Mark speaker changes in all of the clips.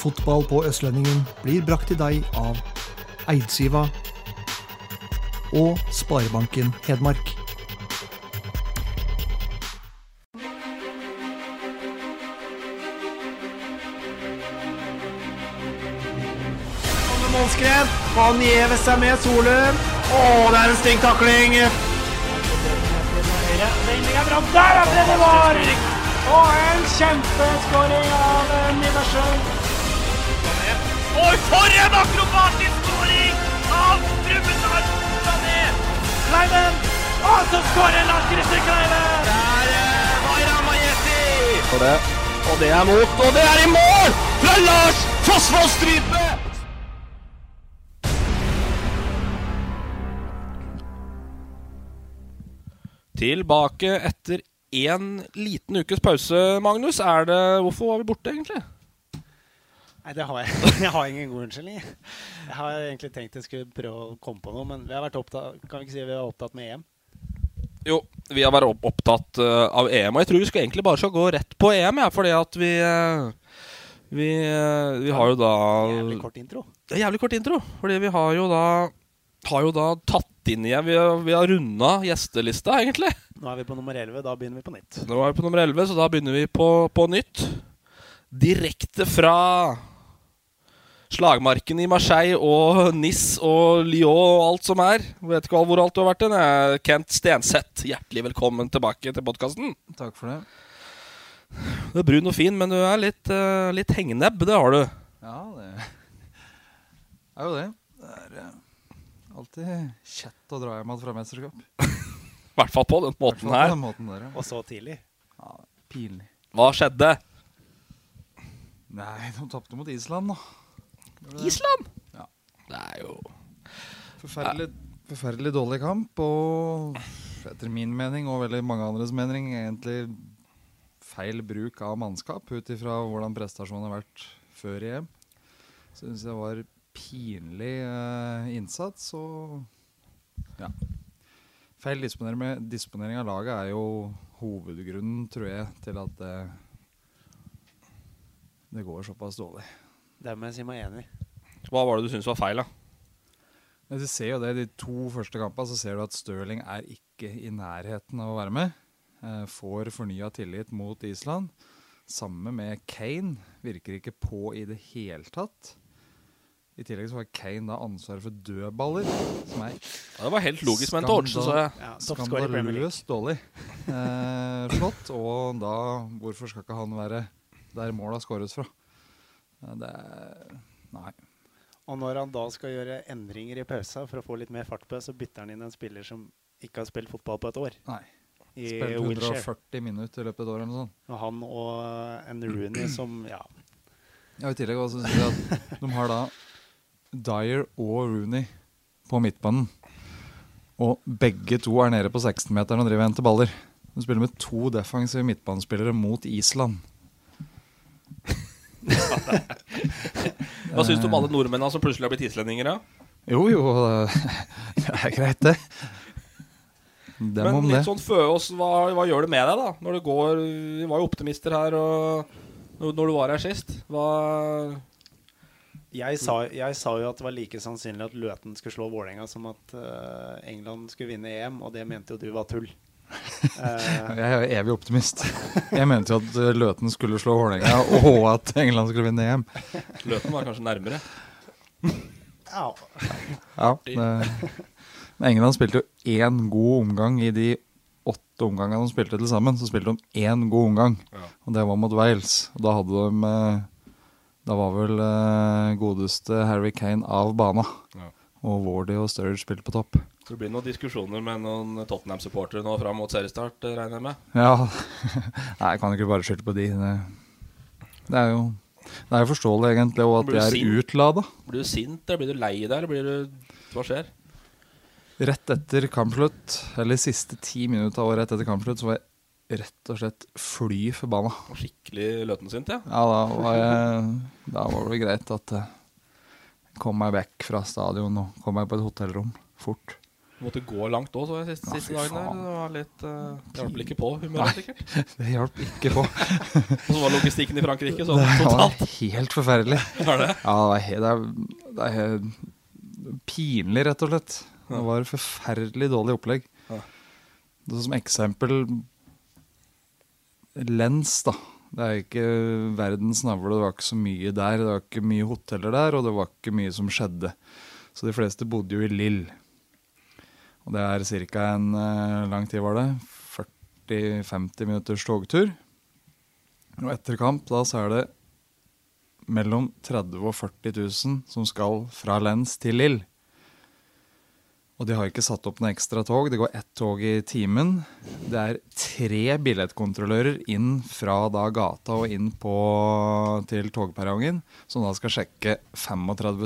Speaker 1: Fotball på Østlendingen blir brakt til deg av Eidsiva og Sparebanken Hedmark.
Speaker 2: Målskred. Han gjever seg med Solum. Å, det er en stygg takling. Den ligger bra. Der er det var! Og en kjempeskåring av eh, Nidarsjøen. Og for en akrobatisk skåring av Trubbedal Sané! Kleiven! Og så skårer Lars Christer Kleiven! Der eh, var Ramajeti! Og det, og det er mot, og det er i mål! Fra Lars Fossvold Strype!
Speaker 3: Tilbake etter en liten ukes pause, Magnus. Er det, hvorfor var vi borte, egentlig?
Speaker 4: Nei, det har jeg. Jeg har ingen god unnskyldning. Jeg har egentlig tenkt jeg skulle prøve å komme på noe, men vi har vært opptatt, kan vi ikke si vi er opptatt med EM.
Speaker 3: Jo, vi har vært opp- opptatt eh, av EM, og jeg tror vi skal egentlig bare skal gå rett på EM, ja, fordi at vi eh, vi, eh, vi har jo da
Speaker 4: Jævlig kort intro.
Speaker 3: Det er jævlig kort intro, fordi vi har jo da har jo da tatt inn igjen Vi har, vi har runda gjestelista, egentlig.
Speaker 4: Nå er vi på nummer 11, da begynner vi på nytt.
Speaker 3: Nå er vi på nummer 11, så da begynner vi på, på nytt. Direkte fra slagmarken i Marseille og Nis og Lyon og alt som er. Jeg Vet ikke hvor alt du har vært hen. jeg. Kent Stenseth, hjertelig velkommen tilbake til podkasten.
Speaker 1: Takk for det.
Speaker 3: Du er brun og fin, men du er litt, eh, litt hengnebb, det har du.
Speaker 1: Ja, det er jo det. Det er eh, alltid kjett å dra hjem igjen fra mesterskap.
Speaker 3: I hvert fall på den
Speaker 1: Hvertfall
Speaker 3: måten
Speaker 1: på
Speaker 3: her.
Speaker 1: den måten der, ja.
Speaker 4: Og så tidlig.
Speaker 1: Pinlig.
Speaker 3: Hva skjedde?
Speaker 1: Nei, de tapte mot Island, da.
Speaker 3: Island!
Speaker 1: Ja.
Speaker 3: Det er jo
Speaker 1: Forferdelig, forferdelig dårlig kamp, og etter min mening og veldig mange andres mening egentlig feil bruk av mannskap ut ifra hvordan prestasjonen har vært før i EM. Syns jeg var pinlig eh, innsats og ja. Feil disponering, med, disponering av laget er jo hovedgrunnen, tror jeg, til at det, det går såpass dårlig.
Speaker 4: Det må jeg si meg enig i.
Speaker 3: Hva var det du syntes var feil, da?
Speaker 1: Ja, Du ser jo det, De to første kampene så ser du at Stirling er ikke i nærheten av å være med. Eh, Får fornya tillit mot Island. Samme med Kane. Virker ikke på i det hele tatt. I tillegg så har Kane da ansvaret for dødballer, som er
Speaker 3: Det var helt logisk ment til Oddsen, så jeg.
Speaker 4: Ja, toppscorer i Premier League.
Speaker 1: skandaløst dårlig. Eh, flott. Og da, hvorfor skal ikke han være der måla skåres fra? Eh, Det er Nei.
Speaker 4: Og når han da skal gjøre endringer i pausa for å få litt mer fart på det, så bytter han inn en spiller som ikke har spilt fotball på et år.
Speaker 1: nei.
Speaker 4: I
Speaker 1: Spilte
Speaker 4: Wilshere.
Speaker 1: 140 minutter i løpet av et år eller noe sånt.
Speaker 4: Og han og en Rooney som Ja.
Speaker 1: Ja, I tillegg også synes jeg at de har da Dyer og Rooney på midtbanen. Og begge to er nede på 16-meteren og driver og henter baller. De spiller med to defensive midtbanespillere mot Island.
Speaker 3: Hva syns du om alle nordmennene som plutselig har blitt islendinger? da?
Speaker 1: Jo, jo, det er greit, det. Dem
Speaker 3: Men
Speaker 1: om det.
Speaker 3: litt sånn Føås, hva, hva gjør det med deg, da? Når det går Vi var jo optimister her og når, når du var her sist. Hva
Speaker 4: Jeg sa, jeg sa jo at det var like sannsynlig at Løten skulle slå Vålerenga som at eh, England skulle vinne EM, og det mente jo du var tull. Eh,
Speaker 1: Jeg er jo evig optimist. sånn- Jeg mente jo at eh, Løten skulle slå Vålerenga, og at England skulle vinne EM.
Speaker 3: Løten var kanskje nærmere.
Speaker 4: ja,
Speaker 1: Ja, det, men England spilte jo én god omgang i de åtte omgangene de spilte til sammen. Så spilte de én god omgang, og det var mot Wales. Og da hadde de eh, Da var vel eh, godeste Harry Kane av bana. og Wardy og Sturridge spilte på topp.
Speaker 3: Så det blir noen diskusjoner med noen Tottenham-supportere nå fram mot seriestart, eh, regner jeg med.
Speaker 1: Ja Nei, jeg kan ikke bare skylde på de. Det, det er jo Det er jo forståelig, egentlig, og at
Speaker 3: Blir
Speaker 1: de
Speaker 3: du
Speaker 1: er
Speaker 3: sint?
Speaker 1: utlada.
Speaker 3: Blir du sint, eller blir du lei deg, eller blir du Hva skjer?
Speaker 1: Rett etter kampslutt, eller siste ti minutta og rett etter kampslutt, så var jeg rett og slett fly forbanna.
Speaker 3: Skikkelig løtensint, ja.
Speaker 1: Ja, da var, jeg, da var det greit at eh, jeg kom meg vekk fra stadion og kom meg på et hotellrom fort.
Speaker 3: Måtte gå langt òg, så jeg siste,
Speaker 1: Nei, fy
Speaker 3: siste dagen der.
Speaker 1: faen.
Speaker 3: Det var litt uh, Hjalp vel ikke på humøret, sikkert.
Speaker 1: Det hjalp ikke på.
Speaker 3: Og så var logistikken i Frankrike sånn
Speaker 1: det var
Speaker 3: totalt.
Speaker 1: helt forferdelig.
Speaker 3: Var det?
Speaker 1: Ja, det er, he- det er, det er he- pinlig, rett og slett. Det var et forferdelig dårlig opplegg.
Speaker 3: Ja.
Speaker 1: Det er Som eksempel Lens, da. Det er ikke verdens navle. Det var ikke så mye der. Det var ikke mye hoteller der, og det var ikke mye som skjedde. Så de fleste bodde jo i Lill. Og det er ca. en eh, lang tid, var det. 40-50 minutters togtur. Og etter kamp, da, så er det mellom 30 og 40 000 som skal fra Lens til Lill. Og de har ikke satt opp noe ekstra tog. Det går ett tog i timen. Det er tre billettkontrollører inn fra da gata og inn på, til togperrongen, som da skal sjekke 35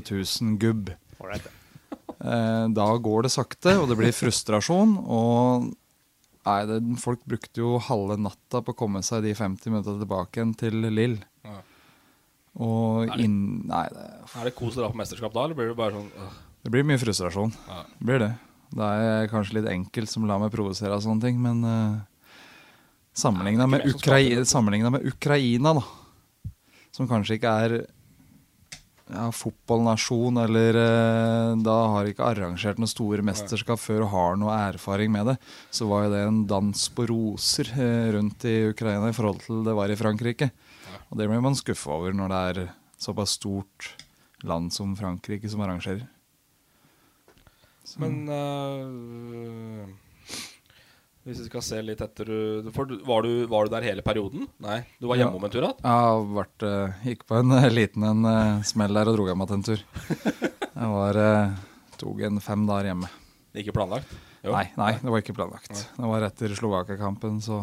Speaker 1: 000 gubb. Eh, Da går det sakte, og det blir frustrasjon. Og nei, det, folk brukte jo halve natta på å komme seg de 50 minuttene tilbake igjen til Lill.
Speaker 3: Ja.
Speaker 1: Og inn Nei, det,
Speaker 3: Er det kos å dra på mesterskap da, eller blir det bare sånn øh,
Speaker 1: det blir mye frustrasjon.
Speaker 3: Ja.
Speaker 1: Det blir det. Det er kanskje litt enkelt som lar meg provosere av sånne ting, men uh, sammenligna
Speaker 3: Nei,
Speaker 1: med,
Speaker 3: det er ikke meg som
Speaker 1: Ukrai sammenlignet med Ukraina, da, som kanskje ikke er ja, fotballnasjon eller eh, Da har ikke arrangert noen store mesterskap før og har noe erfaring med det. Så var jo det en dans på roser eh, rundt i Ukraina i forhold til det var i Frankrike. Og det blir man skuffa over når det er såpass stort land som Frankrike som arrangerer.
Speaker 3: Men øh, Hvis vi skal se litt etter øh, for, du- var, du, var du der hele perioden? Nei, du var hjemme
Speaker 1: Ja.
Speaker 3: om en tur igjen?
Speaker 1: Jeg har vært, eh, gikk på en eh, liten en, eh, smell der og dro hjem igjen en tur. Jeg var, eh, tok en fem dager hjemme.
Speaker 3: Ikke planlagt? Jo.
Speaker 1: Nei, nei, det var ikke planlagt. Det var etter Slovakia-kampen, så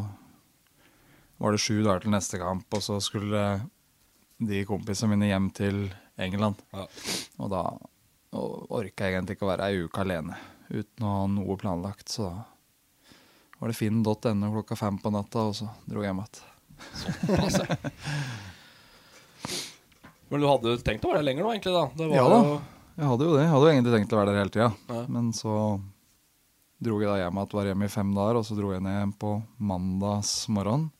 Speaker 1: var det sju dager til neste kamp, og så skulle eh, de kompisene mine hjem til England.
Speaker 3: Ja.
Speaker 1: Og da og orka jeg egentlig ikke å være ei uke alene uten å ha noe planlagt, så da var det finn.no klokka fem på natta, og så dro jeg hjem igjen.
Speaker 3: Men du hadde tenkt å være der lenger nå, egentlig? da det var
Speaker 1: Ja da.
Speaker 3: jo-
Speaker 1: Jeg hadde jo det. Jeg hadde jo egentlig tenkt å være der hele tida.
Speaker 3: Ja.
Speaker 1: Men så dro jeg da hjem at var hjemme i fem dager, og så dro jeg ned igjen på mandags morgen.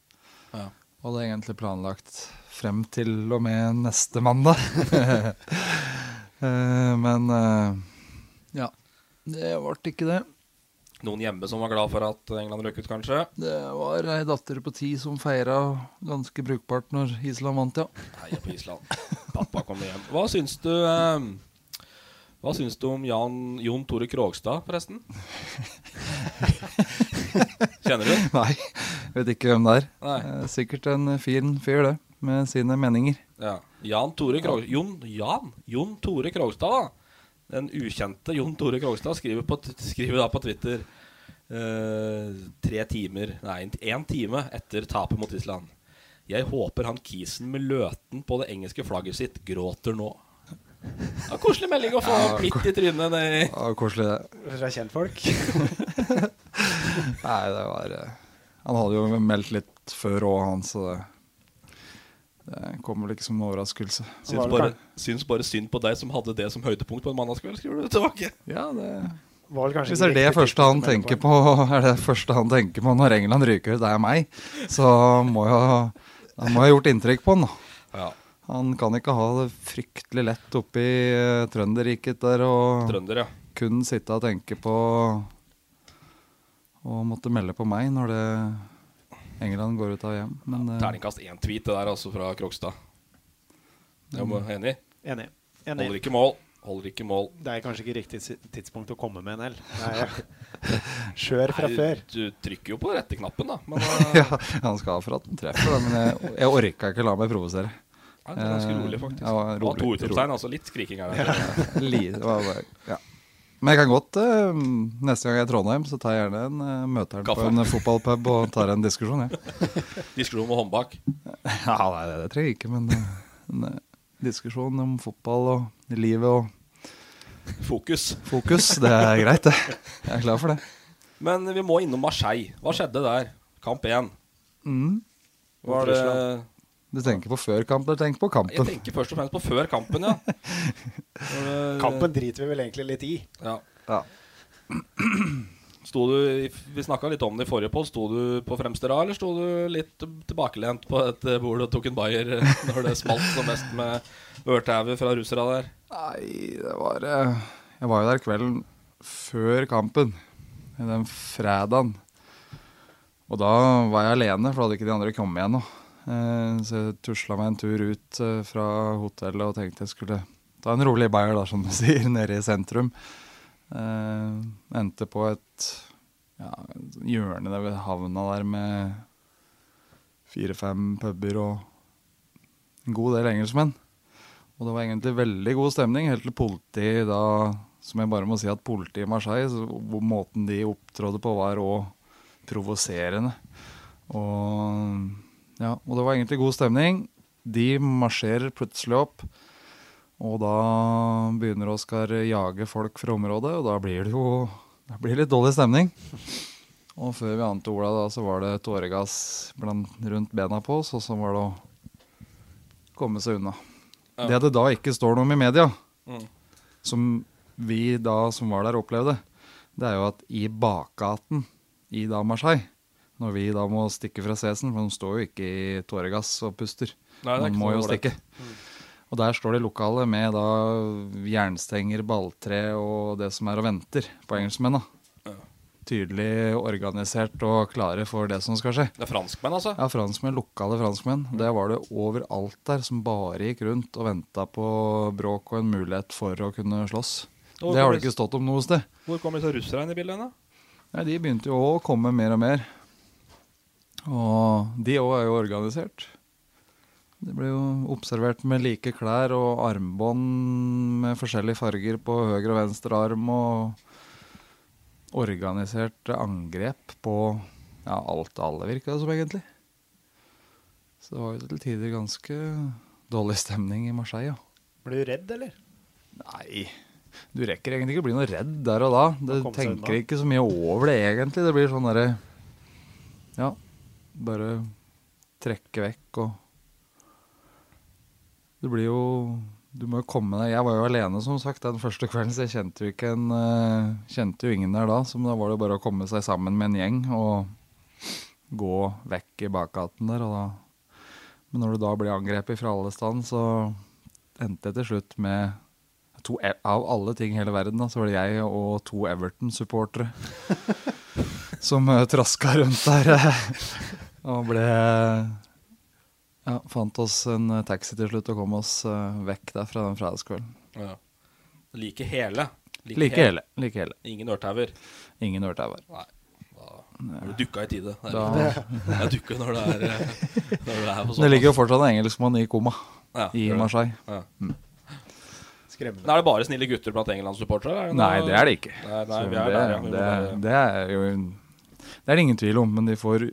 Speaker 3: Ja.
Speaker 1: Og det er egentlig planlagt frem til og med neste mandag. Eh, Men eh, ja. Det ble ikke det.
Speaker 3: Noen hjemme som var glad for at England røk ut, kanskje?
Speaker 1: Det var ei datter på ti som feira ganske brukbart når Island vant, ja.
Speaker 3: Heia på Island. Pappa kommer hjem. Hva syns du ehm, Hva syns du om Jan, Jon Tore Krogstad, forresten? Kjenner du?
Speaker 1: Nei, vet ikke hvem det er.
Speaker 3: Nei.
Speaker 1: Eh, Sikkert en fin fyr, det. Med sine meninger.
Speaker 3: Ja. Jan Tore Krog... Jon Jan? Jon Tore Krogstad, da. Den ukjente Jon Tore Krogstad skriver, på, t- skriver da på Twitter eh, tre timer Nei, én time etter tapet mot Island. Jeg håper han kisen med løten på det engelske flagget sitt gråter nå. Ja, koselig melding å få midt i trynet nedi
Speaker 1: Ja, koselig, det.
Speaker 4: Fra kjentfolk.
Speaker 1: Nei, det var eh, Han hadde jo meldt litt før òg, han, så det, det kom vel ikke som en overraskelse.
Speaker 3: Syns bare, syns bare synd på deg som hadde det som høydepunkt på en mandagskveld, skriver du tilbake.
Speaker 1: Ja, det,
Speaker 4: Var vel kanskje
Speaker 1: Hvis
Speaker 4: ikke
Speaker 1: det er det
Speaker 4: riktig
Speaker 1: første han
Speaker 4: tidspunkt å melde
Speaker 1: tenker
Speaker 4: på.
Speaker 1: på er det første han tenker på når England ryker ut, det er meg, så må jo da må jeg ha gjort inntrykk på han. da.
Speaker 3: Ja.
Speaker 1: Han kan ikke ha det fryktelig lett oppi uh, Trønderriket der og
Speaker 3: Trønder, ja.
Speaker 1: kun sitte og tenke på og måtte melde på meg når det England går ut av hjem. Men, eh,
Speaker 3: Terningkast én-tweet, det der altså fra Krogstad. Jeg må
Speaker 1: Mm.
Speaker 3: enig.
Speaker 4: Enig. Enig.
Speaker 3: Holder ikke mål. Holder ikke mål.
Speaker 4: Det er kanskje ikke riktig si- tidspunkt å komme med en L. Nei, Skjør fra før.
Speaker 3: Du, du trykker jo på rette knappen, da. Men eh,
Speaker 1: ja, han skal ha for at han treffer, da, men jeg, jeg orka ikke la meg provosere.
Speaker 3: ja, det er ganske rolig, faktisk.
Speaker 1: Eh, Ja, rolig,
Speaker 3: Og to
Speaker 1: rolig.
Speaker 3: utropstegn, altså. Litt skriking her.
Speaker 1: Li- det var bare- Ja. Men jeg kan godt eh, Neste gang jeg er i Trondheim, så tar jeg gjerne en uh, møter på
Speaker 3: Kaffe.
Speaker 1: en eh, fotballpub og tar en diskusjon, jeg.
Speaker 3: Diskusjon med håndbak.
Speaker 1: Ja, nei, det, det trenger jeg ikke, men eh, en eh, diskusjon om fotball og livet og
Speaker 3: Fokus.
Speaker 1: fokus, det er greit, det. Jeg er klar for det.
Speaker 3: Men vi må innom Marseille. Hva skjedde der? Kamp én.
Speaker 1: Mm.
Speaker 3: Var det
Speaker 1: Du tenker ikke på før kamp, du tenker på
Speaker 3: Jeg
Speaker 1: kampen.
Speaker 3: tenker først og fremst på før kampen, ja. Når det-
Speaker 4: Kampen driter vi vel egentlig litt i.
Speaker 3: Ja.
Speaker 1: Ja.
Speaker 3: Sto du, i- vi snakka litt om det i forrige podd. Sto du på fremste rad, eller sto du litt tilbakelent på et eh, bord og tok en bayer eh, når det smalt som mest med ørtauer fra russera der?
Speaker 1: Nei, det var eh, Jeg var jo der kvelden før kampen. Den fredagen. Og da var jeg alene, for da hadde ikke de andre kommet igjen nå. Eh, Så jeg tusla meg en tur ut eh, fra hotellet og tenkte jeg skulle ta en rolig bayer, da, som du sier, nede i sentrum. Eh, Endte på et ja, hjørne der ved havna der med fire-fem puber og en god del engelskmenn. Og det var egentlig veldig god stemning, helt til politiet da Som jeg bare må si at politiet i Marseille, så, hvor måten de opptrådde på, var òg provoserende. Og, ja, og det var egentlig god stemning. De marsjerer plutselig opp. Og da begynner Oskar å jage folk fra området, og da blir det jo da blir det litt dårlig stemning. Og før vi ante ordet, da, så var det tåregass blant, rundt bena på oss, og så var det å komme seg unna.
Speaker 3: Ja.
Speaker 1: Det at det da ikke står noe om i media,
Speaker 3: Mm.
Speaker 1: som vi da som var der, opplevde, det er jo at i bakgaten i da Marseille, når vi da må stikke fra Cesen, for de står jo ikke i tåregass og puster,
Speaker 3: Nei, det er
Speaker 1: de
Speaker 3: ikke
Speaker 1: må
Speaker 3: så
Speaker 1: jo
Speaker 3: ålreit.
Speaker 1: stikke. Og der står det lokale med da jernstenger, balltre og det som er og venter på engelskmennene. Tydelig organisert og klare for det som skal skje.
Speaker 3: Det er franskmenn, altså?
Speaker 1: Ja, franskmenn, lokale franskmenn. Det var det overalt der som bare gikk rundt og venta på bråk og en mulighet for å kunne slåss.
Speaker 3: Og
Speaker 1: Det har
Speaker 3: hvor-
Speaker 1: det ikke stått om noe sted.
Speaker 3: Hvor kommer disse russerne inn i bildet? da?
Speaker 1: Nei, De begynte jo å komme mer og mer. Og de òg er jo organisert. Det ble jo observert med like klær og armbånd med forskjellige farger på høyre og venstre arm. Og organiserte angrep på ja, alt og alle, virka det som, egentlig. Så det var jo til tider ganske dårlig stemning i Marseille. Ja.
Speaker 4: Blir du redd, eller?
Speaker 1: Nei, du rekker egentlig ikke å bli noe redd der og da. Du
Speaker 4: komme seg
Speaker 1: tenker
Speaker 4: unna.
Speaker 1: ikke så mye over det egentlig. Det blir sånn derre Ja, bare trekke vekk og Det blir jo Du må jo komme deg Jeg var jo alene, som sagt, den første kvelden, så jeg kjente jo ikke en eh, Kjente jo ingen der da, så da var det jo bare å komme seg sammen med en gjeng og gå vekk i bakgaten der, og da Men når du da blir angrepet fra alle stand, så endte jeg til slutt med to, E- av alle ting i hele verden, da, så var det jeg og to Everton-supportere som eh, traska rundt der eh, og ble ja, Fant oss en eh, taxi til slutt og kom oss eh, vekk der fra den fredagskvelden.
Speaker 3: Ja. Like hele.
Speaker 1: Like hele. like hele.
Speaker 3: Ingen ørtauer.
Speaker 1: Ingen ørtauer.
Speaker 3: Nei. Da har du dukka i tide. Det er
Speaker 1: Da-
Speaker 3: viktig. Jeg dukker når det er, eh, når det er på sånn.
Speaker 1: Det ligger jo fortsatt en engelskmann i koma
Speaker 3: Ja,
Speaker 1: i
Speaker 3: gjør det.
Speaker 1: Marseille.
Speaker 3: Ja.
Speaker 4: Skremmende.
Speaker 3: Men Er det bare snille gutter blant England-supportere?
Speaker 1: Nei, det er det ikke.
Speaker 3: Nei, nei,
Speaker 1: Så
Speaker 3: vi er
Speaker 1: det,
Speaker 3: der, ja. Vi må
Speaker 1: det,
Speaker 3: bare-
Speaker 1: det er jo Det er det ingen tvil om, men de får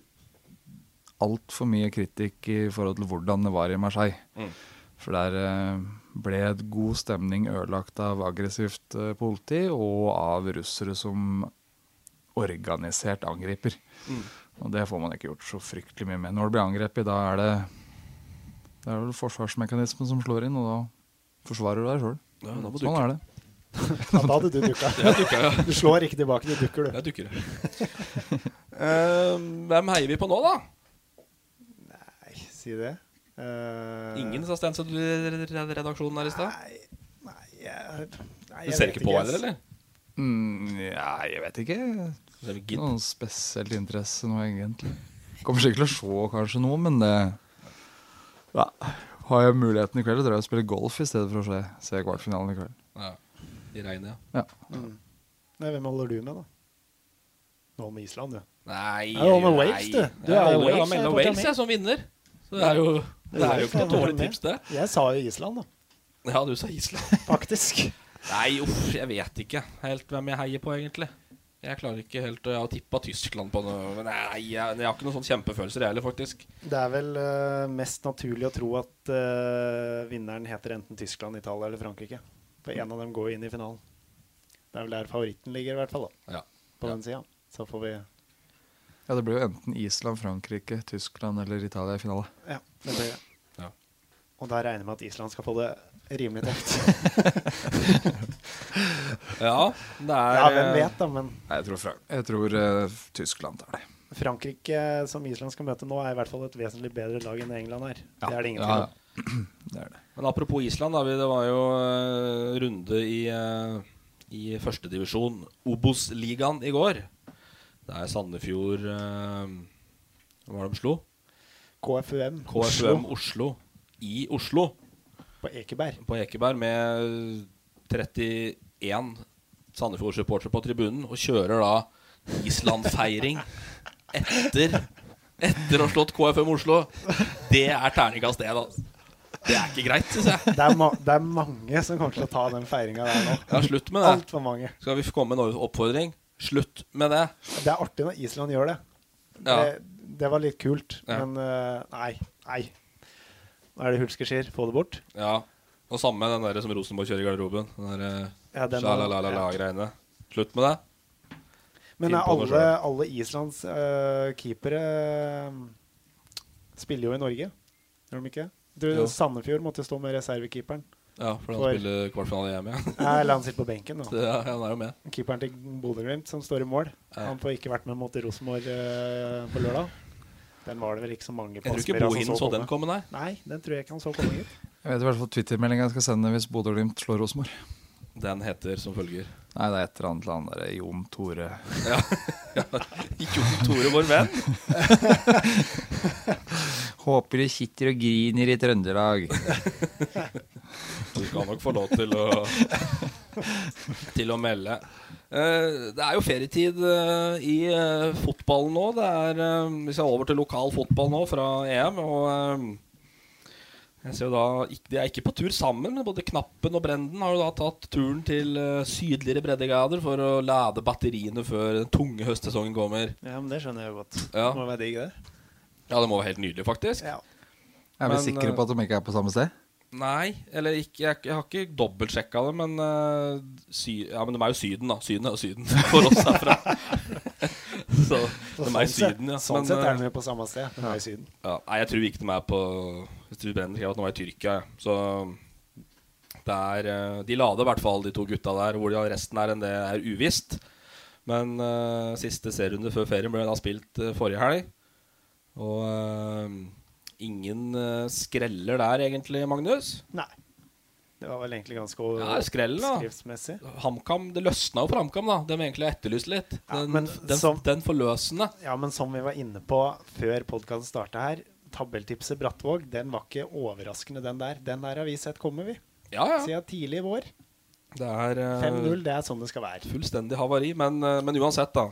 Speaker 1: altfor mye kritikk i forhold til hvordan det var i Marseille.
Speaker 3: Mm.
Speaker 1: For der eh, ble et god stemning ødelagt av aggressivt eh, politi og av russere som organisert angriper.
Speaker 3: Mm.
Speaker 1: Og det får man ikke gjort så fryktelig mye med. Når det blir angrepet, da er det det er vel forsvarsmekanismen som slår inn, og da forsvarer du deg sjøl.
Speaker 3: Ja, da må du
Speaker 1: Sånn er det.
Speaker 4: Ja, da hadde du dukka. Du slår ikke tilbake, du dukker, du.
Speaker 3: Jeg dukker. Eh, hvem heier vi på nå, da?
Speaker 4: Nei, si det. Eh,
Speaker 3: Ingen sa Stenseth i redaksjonen her i stad?
Speaker 4: Nei, nei, jeg, nei
Speaker 3: Du
Speaker 4: jeg
Speaker 3: ser
Speaker 4: vet
Speaker 3: ikke på
Speaker 4: ass.
Speaker 3: heller, eller?
Speaker 1: Mm, ja, jeg vet ikke.
Speaker 3: Det er
Speaker 1: Ikke
Speaker 3: gitt.
Speaker 1: noen spesiell interesse nå, egentlig. Kommer sikkert til å se kanskje noe, men det ja. Har jeg muligheten i kveld, drar jeg og spiller golf i stedet for å se, se kvartfinalen i kveld.
Speaker 3: Ja. I regnet, ja.
Speaker 1: Ja.
Speaker 4: Nei, hvem holder du med, da? Nå med Island, du.
Speaker 3: Nei
Speaker 4: Ja, du holder med Wales, du. Du
Speaker 3: Jeg
Speaker 4: er
Speaker 3: holder-
Speaker 4: Wales,
Speaker 3: jeg melder
Speaker 4: jeg er
Speaker 3: Wales
Speaker 4: fortsatt
Speaker 3: jeg, som vinner. Så det er jo, det er jo ikke noe
Speaker 4: Jeg holder
Speaker 3: dårlig
Speaker 4: med.
Speaker 3: tips, det.
Speaker 4: Jeg sa jo Island, da.
Speaker 3: Ja, du sa Island.
Speaker 4: Faktisk.
Speaker 3: Nei, uff, jeg vet ikke helt hvem jeg heier på, egentlig. Jeg klarer ikke helt å- Jeg har tippa Tyskland på noe Men nei, jeg, jeg har ikke noen sånn kjempefølelser, jeg heller, faktisk.
Speaker 4: Det er vel eh, mest naturlig å tro at eh, vinneren heter enten Tyskland, Italia eller Frankrike. For en av dem går inn i finalen. Det er vel der favoritten ligger, i hvert fall. da.
Speaker 3: Ja.
Speaker 4: På den sida. Så får vi
Speaker 1: Ja, det blir jo enten Island, Frankrike, Tyskland eller Italia i finale.
Speaker 4: Ja, det blir det.
Speaker 3: Ja.
Speaker 4: Og da regner jeg med at Island skal få det rimelig tøft.
Speaker 3: Ja, det er eh,
Speaker 4: Ja, hvem vet da, men-
Speaker 1: Nei, Jeg tror, Fra- jeg tror eh, Tyskland tar det.
Speaker 4: Frankrike, eh, som Island skal møte nå, er i hvert fall et vesentlig bedre lag enn England er.
Speaker 3: Ja.
Speaker 4: Det er det ingen
Speaker 3: Ja,
Speaker 4: tvil om.
Speaker 3: Men apropos Island, da, vi- det var jo eh, runde i, eh, i førstedivisjon, Obos-ligaen, i går. Der Sandefjord eh, Hva var det de slo?
Speaker 4: KFUM.
Speaker 3: KFUM Oslo. I Oslo.
Speaker 4: På Ekeberg.
Speaker 3: På Ekeberg med 31 Sandefjord-supportere på tribunen, og kjører da Island-feiring etter, etter å ha slått KFUM Oslo. Det er terningkast én, altså. Det er ikke greit, syns jeg.
Speaker 4: Det er, ma det er mange som kommer til å ta den feiringa der nå.
Speaker 3: Ja, slutt med det.
Speaker 4: Altfor mange.
Speaker 3: Skal vi få komme med en oppfordring? Slutt med det.
Speaker 4: Det er artig når Island gjør det.
Speaker 3: Ja.
Speaker 4: Det, det var litt kult,
Speaker 3: Ja.
Speaker 4: men eh, nei. Nei. Nå er det hulskeskier. Få det bort.
Speaker 3: Ja. Og samme med den der som Rosenborg kjører i garderoben. Den der
Speaker 4: Ja, den er-
Speaker 3: sjalalala-greiene. Slutt med det.
Speaker 4: Men
Speaker 3: Finn
Speaker 4: er
Speaker 3: på noe
Speaker 4: alle, alle Islands eh, keepere eh, spiller jo i Norge, gjør de ikke? Du,
Speaker 3: Jo.
Speaker 4: Sandefjord måtte jo stå med reservekeeperen.
Speaker 3: Ja, for han spiller kvartfinale i EM, ja.
Speaker 4: Nei, eller han sitter på benken nå.
Speaker 3: Så, ja, han er jo med.
Speaker 4: Keeperen til Bodø-Glimt som står i mål.
Speaker 3: Ja.
Speaker 4: Han får ikke vært med mot Rosenborg eh, på lørdag. Den var det vel ikke så mange
Speaker 3: tror ikke
Speaker 4: passspillere som
Speaker 3: Bohinen så den komme, nei.
Speaker 4: Nei, den tror jeg ikke han så komme, gitt.
Speaker 1: Jeg vet i hvert fall Twitter-meldinga jeg skal sende hvis Bodø og Glimt slår Rosenborg.
Speaker 3: Den heter som følger
Speaker 1: Nei, det er et eller annet til han derre Jon Tore
Speaker 3: Ja. Ja. Jon Tore, vår venn.
Speaker 1: Håper du sitter og griner i Trøndelag.
Speaker 3: Du skal nok få lov til å Til å melde. Eh, det er jo ferietid eh, i eh, fotballen nå. Det er, eh, vi skal over til lokal fotball nå fra EM. Og eh, jeg ser jo da ikk- De er ikke på tur sammen, men både Knappen og Brenden har jo da tatt turen til eh, sydligere breddegrader for å lade batteriene før den tunge høstsesongen kommer.
Speaker 4: Ja, men det skjønner jeg jo godt.
Speaker 3: Ja.
Speaker 4: Det må være digg, det.
Speaker 3: Ja, det må være helt nydelig, faktisk.
Speaker 1: Er vi
Speaker 3: Men, eh,
Speaker 1: sikre på at de ikke er på samme sted?
Speaker 3: Nei, eller ikke, jeg, jeg har ikke dobbeltsjekka det, men eh, sy, Ja, men de er jo Syden, da. Syden er jo Syden for oss herfra. Så de er i Syden, ja.
Speaker 4: Sånn
Speaker 3: Men,
Speaker 4: sett er
Speaker 3: eh,
Speaker 4: de jo på samme sted. De er i Syden.
Speaker 3: ja, nei, jeg tror ikke de er på Hvis du brenner, skrev at de var i Tyrkia. Ja. Så det er eh, De lader i hvert fall, de to gutta der. Hvor de har resten er enn det er uvisst. Men eh, siste serierunde før ferien ble da spilt eh, forrige helg. Og eh, ingen eh, skreller der, egentlig, Magnus.
Speaker 4: Nei. Det var vel egentlig ganske
Speaker 3: Ja, skrell, da.
Speaker 4: skriftsmessig.
Speaker 3: HamKam, Det løsna jo for HamKam, da. De egentlig har etterlyst litt. Den,
Speaker 4: men
Speaker 3: den,
Speaker 4: som-
Speaker 3: den forløsende.
Speaker 4: Ja, men som vi var inne på før podkasten starta her, tabelltipset Brattvåg, den var ikke overraskende, den der. Den der har vi sett komme, vi.
Speaker 3: Ja, ja.
Speaker 4: Siden tidlig i vår.
Speaker 3: Det er eh,
Speaker 4: 5-0, det er sånn det skal være.
Speaker 3: fullstendig havari. Men, eh, men uansett, da.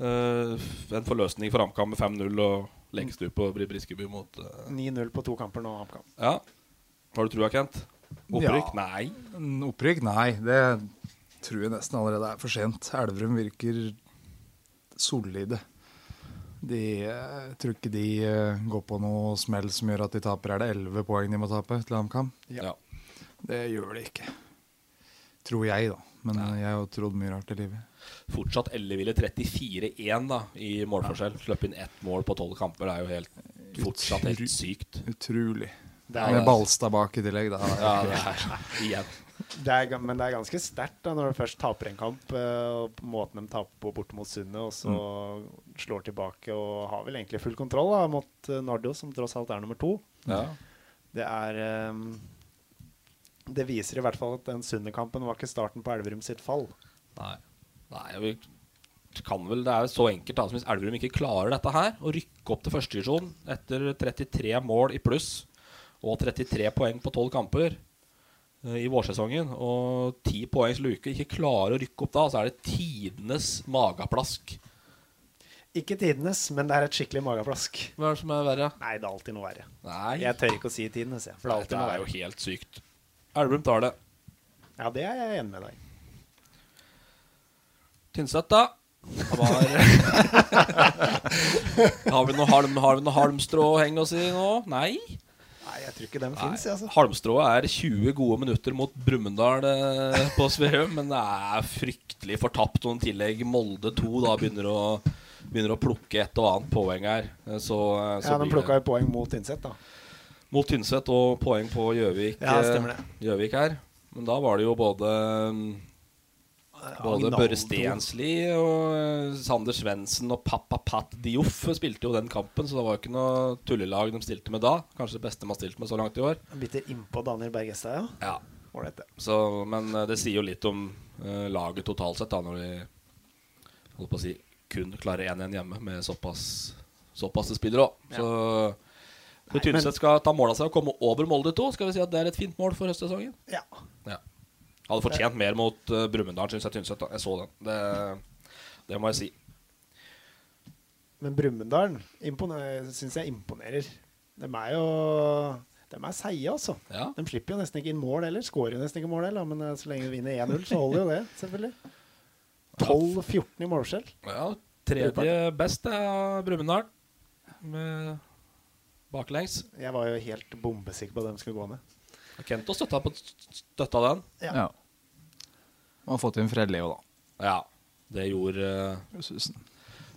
Speaker 3: Eh, en forløsning for HamKam med 5-0 og lengstup og Bri- Briskeby mot eh,
Speaker 4: 9-0 på to kamper nå, HamKam.
Speaker 3: Ja. Har du trua, Kent? Opprykk? Nei.
Speaker 1: En Opprykk? Nei. Det tror jeg nesten allerede er for sent. Elverum virker solide. De, jeg tror ikke de eh, går på noe smell som gjør at de taper. Er det elleve poeng de må tape til HamKam?
Speaker 3: Ja.
Speaker 1: Det gjør de ikke. Tror jeg, da. Men eh, jeg har jo trodd mye rart i livet.
Speaker 3: Fortsatt elleville 34-1 da i målforskjell. Sløpp inn ett mål på tolv kamper. Det er jo helt fortsatt helt sykt.
Speaker 1: Utrolig.
Speaker 4: Det er-
Speaker 1: Med Balstad bak i tillegg, da.
Speaker 3: Ja, det er igjen.
Speaker 4: Det er, ga- men det er ganske sterkt da, når du først taper en kamp, eh, og på måten de taper på borte mot Sundet, og så
Speaker 3: Mm.
Speaker 4: slår tilbake og har vel egentlig full kontroll da, mot eh, Nardo, som tross alt er nummer to.
Speaker 3: Ja.
Speaker 4: Det er eh, Det viser i hvert fall at den Sundet-kampen var ikke starten på Elverum sitt fall.
Speaker 3: Nei. Nei vi kan vel, Det er jo så enkelt da, som hvis Elverum ikke klarer dette her, å rykke opp til førstedivisjon etter 33 mål i pluss og 33 poeng på 12 kamper eh, i vårsesongen og 10 poengs luke, ikke klarer å rykke opp da, så er det tidenes mageplask.
Speaker 4: Ikke tidenes, men det er et skikkelig mageplask.
Speaker 3: Hva er det som er verre?
Speaker 4: Nei, det er alltid noe verre.
Speaker 3: Nei,
Speaker 4: Jeg tør ikke å si tidenes, jeg. For det er alltid
Speaker 3: dette
Speaker 4: noe
Speaker 3: er jo
Speaker 4: verre.
Speaker 3: helt sykt. Elverum tar det.
Speaker 4: Ja, det er jeg enig med deg i.
Speaker 3: Tynset, da. Han Var... har vi noe, halm, har vi noe halmstrå å henge oss i nå? Nei.
Speaker 4: Nei, jeg tror ikke den
Speaker 3: Nei.
Speaker 4: fins, jeg, altså.
Speaker 3: Halmstrå er 20 gode minutter mot Brumunddal eh, på Sveum, men det er fryktelig fortapt. Og i tillegg Molde 2 da begynner å, begynner å plukke et og annet poeng her. Eh, Så, eh, så
Speaker 4: Ja, De
Speaker 3: blir det-
Speaker 4: plukka jo poeng mot Tynset, da.
Speaker 3: mot Tynset og poeng på Gjøvik.
Speaker 4: Ja,
Speaker 3: eh,
Speaker 4: stemmer det.
Speaker 3: Gjøvik her. Men da var det jo både mm,
Speaker 4: Eh,
Speaker 3: både
Speaker 4: Agnaldo.
Speaker 3: Børre Stensli og eh, Sander Svendsen og Pappa Pat Dioff spilte jo den kampen, så det var jo ikke noe tullelag de stilte med da. Kanskje det beste man har stilt med så langt i år.
Speaker 4: En Bitte innpå Daniel Bergestad, ja.
Speaker 3: Ja.
Speaker 4: Ålreit, det.
Speaker 3: Så, men eh, det sier jo litt om eh, laget totalt sett, da, når de holdt på å si, kun klarer 1-1 hjemme med såpass såpass spillere òg. Så
Speaker 4: Nei,
Speaker 3: når Tynset skal ta mål av seg og komme over Molde 2, skal vi si at det er et fint mål for høstsesongen.
Speaker 4: Ja.
Speaker 3: Ja. Hadde fortjent mer mot uh, Brumunddal, syns jeg Tynset. da. Jeg så den. Det, det må jeg si.
Speaker 4: Men Brumunddal syns jeg imponerer. De er jo De er seige, altså.
Speaker 3: Ja.
Speaker 4: De slipper jo nesten ikke inn mål heller. Skårer jo nesten ikke mål heller, men eh, så lenge de vinner 1-0, så holder jo det, selvfølgelig. 12-14 i målforskjell.
Speaker 3: Ja, tredje best er Brumunddal, med baklengs.
Speaker 4: Jeg var jo helt bombesikker på at de skulle gå ned.
Speaker 3: Kento støtta, på, støtta den.
Speaker 1: Ja. Man har fått inn Frelleo, da.
Speaker 3: Ja, det gjorde eh,
Speaker 1: Susen.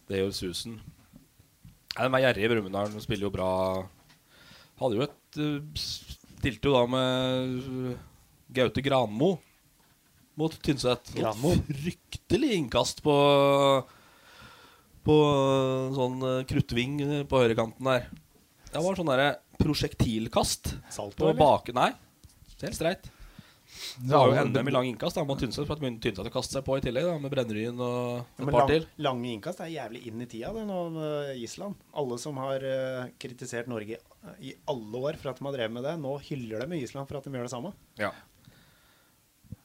Speaker 3: Det gjorde susen. Nei, de er gjerrige i Brumunddal. De spiller jo bra. Hadde jo et eh, s- Stilte jo da med eh, Gaute Granmo mot Tynset. Og
Speaker 4: Granmo.
Speaker 3: Fryktelig innkast på På en sånn eh, kruttving eh, på høyrekanten der. Det var sånn derre prosjektilkast.
Speaker 4: Salto,
Speaker 3: På
Speaker 4: eller?
Speaker 3: bak... Nei, helt streit. Det var jo NM i lang innkast da, mot Tynset. For at begynte Tynset å kaste seg på i tillegg, da, med Brenneryen og
Speaker 4: Ja,
Speaker 3: et
Speaker 4: Men
Speaker 3: par
Speaker 4: lang,
Speaker 3: til.
Speaker 4: lange innkast er jævlig inn i tida, det nå med Island. Alle som har eh, kritisert Norge eh, i alle år for at de har drevet med det, nå hyller de Island for at de gjør det samme.
Speaker 3: Ja.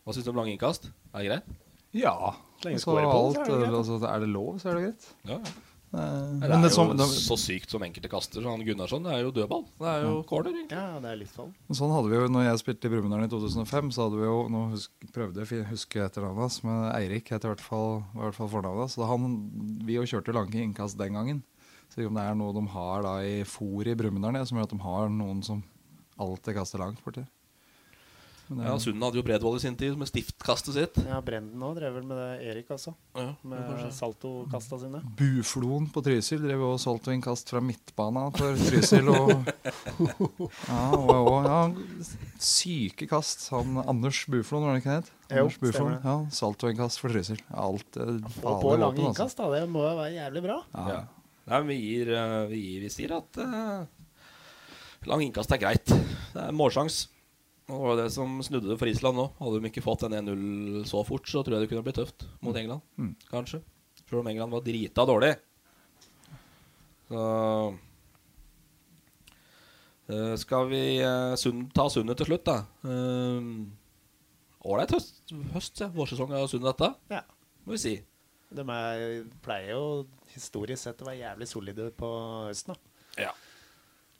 Speaker 3: Hva syns du om lange innkast? Er det greit?
Speaker 1: Ja.
Speaker 4: Så lenge du
Speaker 1: Så
Speaker 4: scorer på det,
Speaker 1: alt,
Speaker 4: så er det greit.
Speaker 1: altså, er det lov, så er det greit.
Speaker 3: Ja.
Speaker 1: Eh,
Speaker 3: Det er
Speaker 1: Men det
Speaker 3: jo
Speaker 1: som, det,
Speaker 3: så sykt som enkelte kaster. så Han Gunnarsson det er jo dødball. Det er jo corner. egentlig.
Speaker 4: Ja, det er litt sånn.
Speaker 1: sånn hadde vi jo når jeg spilte i Brumunddal i 2005. Så hadde vi jo, nå husk, prøvde jeg fi- huske etternavnet hans, men Eirik heter i hvert fall, var i hvert fall fornavnet hans. Så han, vi jo kjørte jo lange innkast den gangen. Så jeg vet ikke om det er noe de har da i fôr i Brumunddal, ja, som gjør at de har noen som alltid kaster langt borti. Men det-
Speaker 3: Ja, Sunden hadde jo Bredvold i sin tid med stiftkastet sitt.
Speaker 4: Ja, Brenden òg drev vel med det, Erik også.
Speaker 3: Ja,
Speaker 4: Med saltokasta sine.
Speaker 1: Bufloen på Trysil drev jo og solgte innkast fra midtbana for Trysil. Og, ja, og, og, ja, syke kast. Han, Anders Bufloen, var det ikke det het?
Speaker 4: Jo,
Speaker 1: Anders Bufloen,
Speaker 4: stemmer det.
Speaker 1: ja, Saltoinnkast for Trysil. Alt eh,
Speaker 3: Mm.
Speaker 4: Og på
Speaker 1: fader
Speaker 4: lange
Speaker 1: våpen, altså.
Speaker 4: innkast, da. Det må jo være jævlig bra.
Speaker 3: Ja. Nei, men vi gir, eh, vi gir Vi sier at eh, lang innkast er greit. Det er målsjans. Og Det var det som snudde det for Island nå. Hadde de ikke fått den 1-0 så fort, så tror jeg det kunne blitt tøft mot England. Kanskje. Selv om England var drita dårlig. Så eh, Skal vi eh, Sund, ta Sundet til slutt, da? Eh, Ålreit høst, høst ja. vårsesong av Sundet, dette,
Speaker 4: Ja.
Speaker 3: må vi si.
Speaker 4: De er, pleier jo historisk sett å være jævlig solide på høsten, da.
Speaker 3: Ja.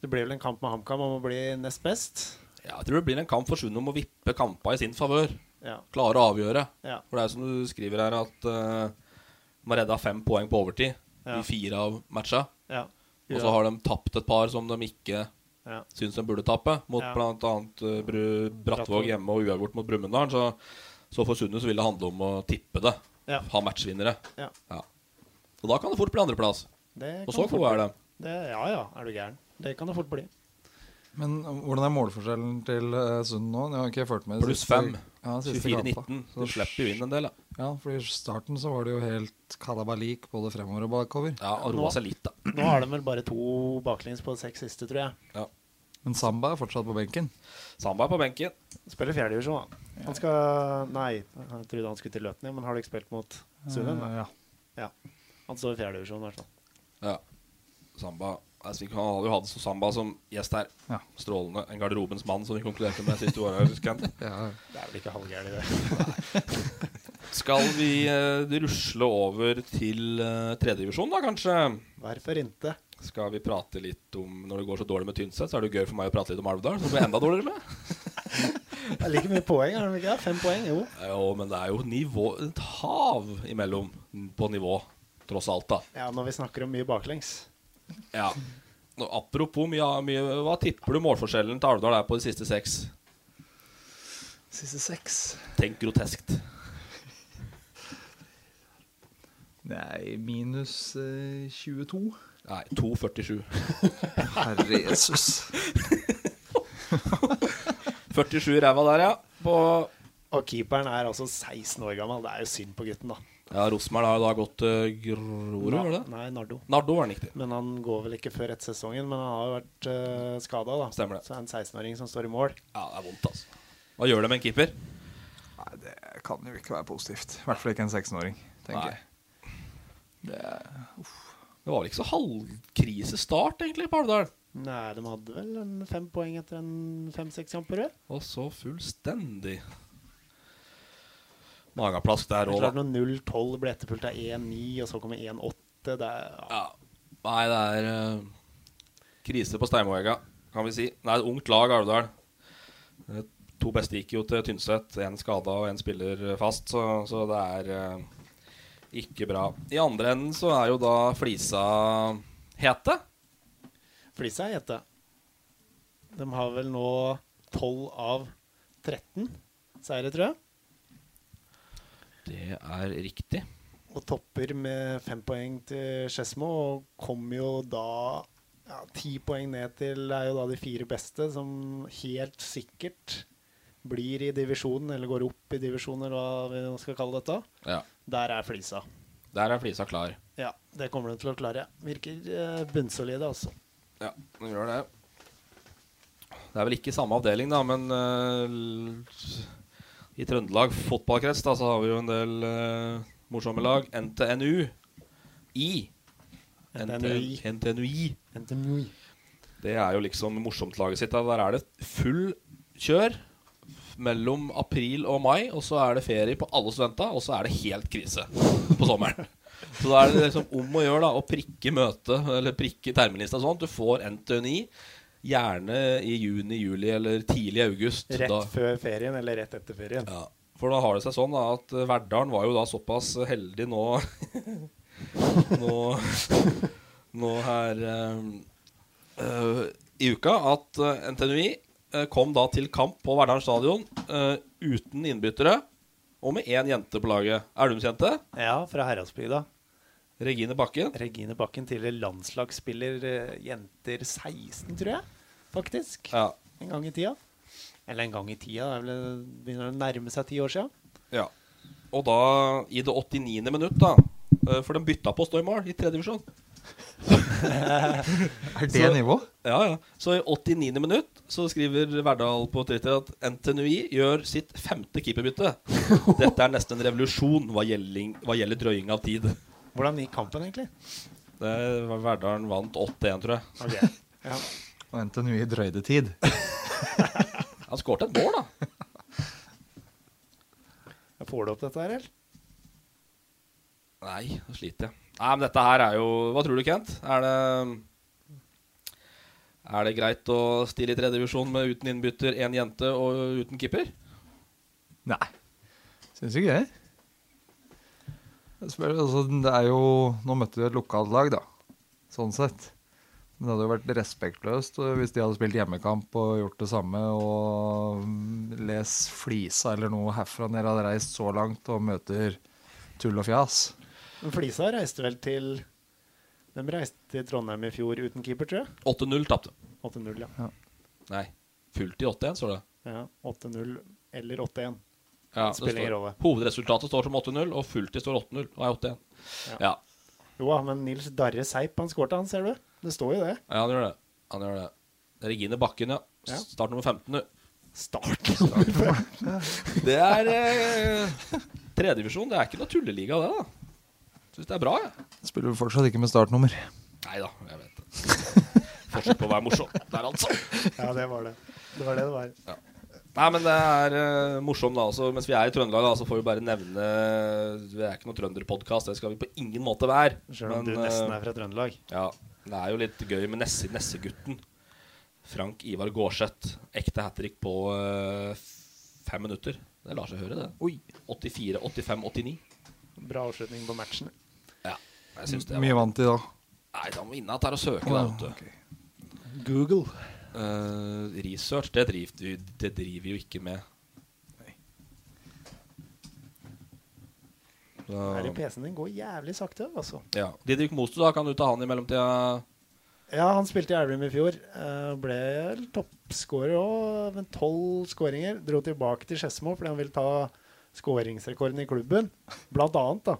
Speaker 4: Det ble vel en kamp med HamKam om å bli nest best.
Speaker 3: Ja, jeg tror det blir en kamp for Sunn om å vippe kampa i sin favør.
Speaker 4: Ja.
Speaker 3: Klare å avgjøre.
Speaker 4: Ja.
Speaker 3: For det er som du skriver her, at uh, de har redda fem poeng på overtid
Speaker 4: Ja.
Speaker 3: i fire av matcha.
Speaker 4: Ja.
Speaker 3: Og så har de tapt et par som de ikke
Speaker 4: Ja.
Speaker 3: syns de burde tape, mot
Speaker 4: Ja.
Speaker 3: blant bl.a. Uh, Bru-
Speaker 4: Brattvåg.
Speaker 3: Brattvåg hjemme og uavgjort mot Brumunddal. Så, så for Sunne så vil det handle om å tippe det.
Speaker 4: Ja.
Speaker 3: Ha matchvinnere.
Speaker 4: Ja.
Speaker 3: Og da kan det fort bli andreplass.
Speaker 4: Det
Speaker 3: Og
Speaker 4: kan
Speaker 3: så
Speaker 4: det fort
Speaker 3: gode er de.
Speaker 4: bli. Det, ja ja, er du gæren. Det kan det fort bli.
Speaker 1: Men eh, hvordan er målforskjellen til eh, Sund nå? Jeg har ikke fulgt med. de
Speaker 3: Pluss
Speaker 1: siste-
Speaker 3: fem.
Speaker 1: Ja, de siste kampa.
Speaker 3: 24-19.
Speaker 1: Så-
Speaker 3: Du slipper jo inn en del, da.
Speaker 1: Ja, for i starten så var det jo helt kalabalik både fremover og bakover.
Speaker 3: Ja, og roa seg litt, da.
Speaker 4: Nå har de vel bare to baklengs på seks siste, tror jeg.
Speaker 3: Ja.
Speaker 1: Men Samba er fortsatt på benken.
Speaker 3: Samba er på benken.
Speaker 4: Spiller fjerdedivisjon, da. Han skal Nei, jeg trodde han skulle til Løten, ja, men har du ikke spilt mot Sunnhøen?
Speaker 1: Eh, ja.
Speaker 4: Ja. Han står i fjerdedivisjon, i hvert fall.
Speaker 3: Ja. Samba altså, vi kan- Han hadde jo hatt så Samba som gjest her.
Speaker 1: Ja.
Speaker 3: Strålende. En garderobens mann, som vi konkluderte med sist du var her. husker jeg.
Speaker 1: Ja.
Speaker 4: Det er vel ikke halvgærent, det.
Speaker 3: Skal vi eh, rusle over til eh, tredjedivisjon, da, kanskje?
Speaker 4: Hvorfor ikke?
Speaker 3: Skal vi prate litt om Når det går så dårlig med Tynset, så er det jo gøy for meg å prate litt om Alvdal, som det blir enda dårligere med.
Speaker 4: Det er like mye poeng, er det ikke? Fem poeng, jo.
Speaker 3: Jo, men det er jo nivå, et hav imellom på nivå, tross alt, da.
Speaker 4: Ja, når vi snakker om mye baklengs.
Speaker 3: Ja. Nå, Apropos mye, mye Hva tipper du målforskjellen til Alvdal er på de siste seks?
Speaker 1: Siste seks
Speaker 3: Tenk groteskt.
Speaker 1: Nei, minus eh, 22.
Speaker 3: Nei, 2,47.
Speaker 1: Herre Jesus.
Speaker 3: 47 i ræva der, ja.
Speaker 4: Og keeperen er altså 16 år gammel. Det er jo synd på gutten, da.
Speaker 3: Ja, Rosenborg har jo da gått uh, Grorud, var det det?
Speaker 4: Nei, Nardo.
Speaker 3: Nardo var den riktig.
Speaker 4: Men han går vel ikke før etter sesongen, men han har jo vært uh, skada, da.
Speaker 3: Stemmer det.
Speaker 4: Så er det en 16-åring som står i mål.
Speaker 3: Ja, det er vondt, altså. Hva gjør det med en keeper?
Speaker 1: Nei, det kan jo ikke være positivt. I hvert fall ikke en 16-åring, tenker
Speaker 3: Nei. Det var vel ikke så halvkrisestart, egentlig, på Alvdal?
Speaker 4: Nei, de hadde vel en fem poeng etter en fem-seks kamper, vel?
Speaker 3: Og så fullstendig mageplask der
Speaker 4: Det er
Speaker 3: òg,
Speaker 4: klart
Speaker 3: da.
Speaker 4: når 0-12 ble etterfulgt av 1-9, og så kommer 1-8. Det er
Speaker 3: Ja. Nei, det er eh, krise på Steinmoegga, kan vi si. Det er et ungt lag, Alvdal. Eh, To beste gikk jo til Tynset. Én skada og én spiller eh, fast, så, så det er eh, ikke bra. I andre enden så er jo da Flisa hete.
Speaker 4: Flisa er gjette. De har vel nå 12 av 13 seire, tror jeg.
Speaker 3: Det er riktig.
Speaker 4: Og topper med fem poeng til Skedsmo. Og kommer jo da ja, ti poeng ned til er jo da de fire beste, som helt sikkert blir i divisjonen, eller går opp i divisjonen, eller hva vi nå skal kalle dette.
Speaker 3: Ja.
Speaker 4: Der er Flisa.
Speaker 3: Der er Flisa klar.
Speaker 4: Ja, det kommer de til å klare. Virker eh, bunnsolide, altså.
Speaker 3: Ja, den gjør det. Det er vel ikke samme avdeling, da, men eh, i Trøndelag fotballkrets da, så har vi jo en del eh, morsomme lag. NTNU I.
Speaker 4: NTNUI.
Speaker 3: NTNUI.
Speaker 4: NTNUI.
Speaker 3: Det er jo liksom morsomtlaget sitt. Da. Der er det full kjør mellom april og mai, og så er det ferie på alle studenter, og så er det helt krise på sommeren. Så da er det liksom om å gjøre da, å prikke møte, eller prikke terminlista og sånt. Du får NTNI gjerne i juni, juli eller tidlig august.
Speaker 4: Rett
Speaker 3: Da-
Speaker 4: før ferien, eller rett etter ferien.
Speaker 3: ja, for da har det seg sånn da, at eh, Verdalen var jo da såpass heldig nå Nå, nå her eh, eh, i uka at eh, NTNUI eh, kom da til kamp på Verdalen stadion eh, uten innbyttere og med én jente på laget. Elvumsjente.
Speaker 4: Ja, fra Heradsbygda.
Speaker 3: Regine Bakken.
Speaker 4: Regine Bakken, tidligere landslagsspiller eh, jenter 16, tror jeg, faktisk.
Speaker 3: Ja.
Speaker 4: En gang i tida. Eller en gang i tida, det er vel, det begynner å nærme seg ti år siden.
Speaker 3: ja. Og da, i det 89. minutt, da eh, For de bytta på å stå i mål i tredje divisjon.
Speaker 1: Er det
Speaker 3: Så-
Speaker 1: nivå?
Speaker 3: Ja, ja. Så i 89. minutt så skriver Verdal på Twitter at NTNUI gjør sitt femte keeperbytte. Dette er nesten en revolusjon hva, gjelling, hva gjelder drøying av tid.
Speaker 4: Hvordan gikk kampen, egentlig?
Speaker 3: Det var Verdalen vant 8-1, tror jeg.
Speaker 4: Ok. Ja.
Speaker 1: Og NTNU i drøydetid.
Speaker 3: Han skåret et mål, da.
Speaker 4: Jeg Får du opp dette her, eller?
Speaker 3: Nei, nå sliter jeg. Nei, men dette her er jo Hva tror du, Kent? Er det er det greit å stille i tredje divisjon med uten innbytter, én jente og uten keeper?
Speaker 1: Nei. Syns ikke det. Jeg spør, altså, det er jo Nå møtte du et lokalt lag, da. Sånn sett. Men det hadde jo vært respektløst og hvis de hadde spilt hjemmekamp og gjort det samme og mm, les Flisa eller noe herfra når dere hadde reist så langt og møter tull og fjas.
Speaker 4: Men Flisa reiste vel til De reiste til Trondheim i fjor uten keeper, tror jeg.
Speaker 3: 8-0 tapte.
Speaker 4: 8-0, ja.
Speaker 3: Nei, fullt i 8-1, står det.
Speaker 4: ja 8-0 eller 8-1.
Speaker 3: Ja, det
Speaker 4: spiller ingen
Speaker 3: står-
Speaker 4: rolle.
Speaker 3: Hovedresultatet står som 8-0, og fulltid står 8-0. Og er 8-1.
Speaker 4: Ja.
Speaker 3: Ja.
Speaker 4: Jo da, men Nils Darre Seip, han skårte, han, ser du. Det står jo det.
Speaker 3: ja, han gjør det. Han gjør det. Regine Bakken, ja.
Speaker 4: Ja.
Speaker 3: Start nummer 15 nå.
Speaker 4: Start!
Speaker 3: Det er eh, tredjedivisjon. Det er ikke noe tulleliga, det, da. Syns det er bra, jeg.
Speaker 1: Spiller jo fortsatt ikke med startnummer.
Speaker 3: Nei da, jeg vet det. Fortsett på å være morsom der, altså.
Speaker 4: ja, det var det. Det var det det var.
Speaker 3: Nei, men det er eh, morsomt, da. Altså, mens vi er i Trøndelag, da, så får vi bare nevne eh, Vi er ikke noen trønderpodkast, det skal vi på ingen måte være.
Speaker 4: Sjøl om
Speaker 3: Men,
Speaker 4: du nesten
Speaker 3: eh,
Speaker 4: er fra Trøndelag.
Speaker 3: Ja, det er jo litt gøy med Nesse, Nessegutten. Frank Ivar Gårdseth. Ekte hat trick på eh, fem minutter. Det lar seg høre, det. 84, 85, 89.
Speaker 4: Bra avslutning på matchen.
Speaker 3: Ja, jeg syns det.
Speaker 1: Hvor mye vant de da?
Speaker 3: Nei, da må vi innatt her og søke, da.
Speaker 1: Å,
Speaker 3: vet du. Google. research, det driver, vi, det driver vi jo ikke med. Da-
Speaker 4: Her i PC-en din går jævlig sakte, altså.
Speaker 3: ja. Didrik Mostu, da kan du ta han i mellomtida.
Speaker 4: Ja, han spilte i Elverum i fjor. eh, Ble toppskårer òg, med tolv skåringer. Dro tilbake til Skedsmo fordi han vil ta skåringsrekorden i klubben, blant annet. da.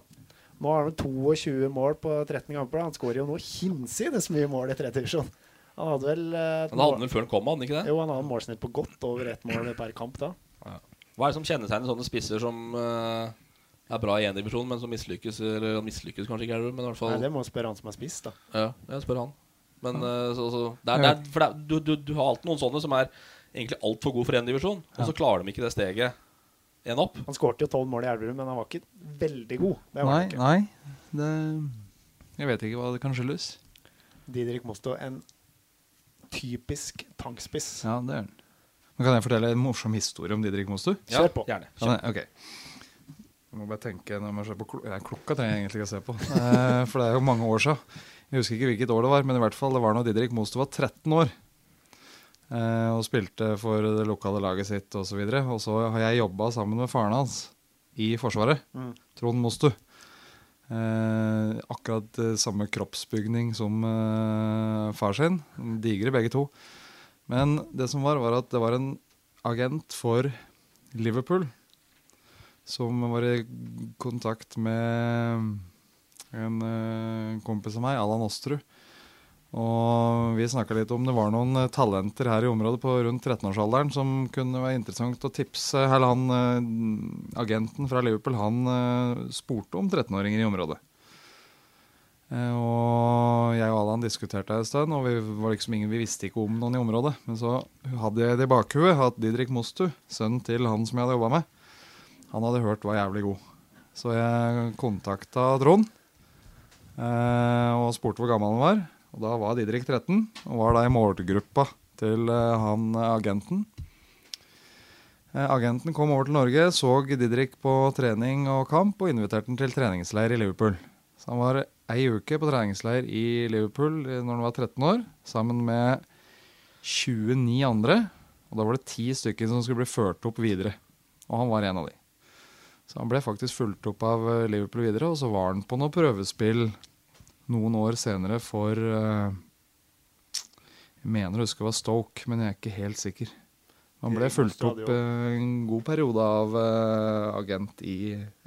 Speaker 4: Nå har han 22 mål på 13 kamper. da. Han skårer jo nå hinsides mye mål i tredje divisjon. Han hadde vel eh, et
Speaker 3: Han hadde
Speaker 4: mål-
Speaker 3: den før han kom, hadde han ikke det?
Speaker 4: Jo, han hadde målsnitt på godt over ett mål per kamp da.
Speaker 3: Ja. Hva er det som kjennetegner sånne spisser som eh, er bra i én divisjon, men som mislykkes? Eller han mislykkes kanskje ikke, er det, men i hvert fall
Speaker 4: Nei, det må du spørre han som har spist, da.
Speaker 3: Ja, jeg spør han. Men eh, så, så, det er, det er, for det er, du, du, du har alltid noen sånne som er egentlig altfor gode for én divisjon, og så klarer de ikke det steget én opp.
Speaker 4: Han skårte jo tolv mål i Elverum, men han var ikke veldig god. Det var
Speaker 1: Nei,
Speaker 4: han ikke.
Speaker 1: nei. Det, jeg vet ikke hva det kan skyldes.
Speaker 4: Didrik Mosto, en typisk tankspiss.
Speaker 1: Ja, det er den. Men kan jeg fortelle en morsom historie om Didrik Mostu?
Speaker 4: Ja, Kjør på. gjerne.
Speaker 1: Kan jeg? Ok. Jeg må bare tenke når man ser på klo- Nei, klokka trenger jeg egentlig ikke å se på. Eh, For det er jo mange år siden. Jeg husker ikke hvilket år det var, men i hvert fall det var når Didrik Mostu var 13 år. eh, Og spilte for det lokale laget sitt osv. Og så har jeg jobba sammen med faren hans i Forsvaret.
Speaker 4: Mm.
Speaker 1: Trond Mostu. Eh, akkurat eh, samme kroppsbygning som eh, far sin. Digre begge to. Men det som var, var at det var en agent for Liverpool som var i kontakt med en eh, kompis av meg, Allan Osterud. Og vi snakka litt om det var noen eh, talenter her i området på rundt 13-årsalderen som kunne være interessant å tipse Eller han eh, agenten fra Liverpool, han eh, spurte om 13-åringer i området. Eh, Og jeg og Allan diskuterte en stund, og vi, var liksom ingen, vi visste ikke om noen i området. Men så hadde jeg det i bakhuet at Didrik Mostu, sønnen til han som jeg hadde jobba med, han hadde hørt var jævlig god. Så jeg kontakta Trond eh, og spurte hvor gammel han var. Og da var Didrik 13, og var da i målgruppa til eh, han eh, agenten. Eh, agenten kom over til Norge, så Didrik på trening og kamp og inviterte han til treningsleir i Liverpool. Så han var ei uke på treningsleir i Liverpool eh, når han var 13 år, sammen med 29 andre. Og da var det ti stykker som skulle bli ført opp videre. Og han var en av de. Så han ble faktisk fulgt opp av eh, Liverpool videre, og så var han på noen prøvespill noen år senere for eh, Jeg mener å huske det var Stoke, men jeg er ikke helt sikker. Han ble
Speaker 4: Egen
Speaker 1: fulgt opp
Speaker 4: stadion.
Speaker 1: eh, en god periode av eh, agent i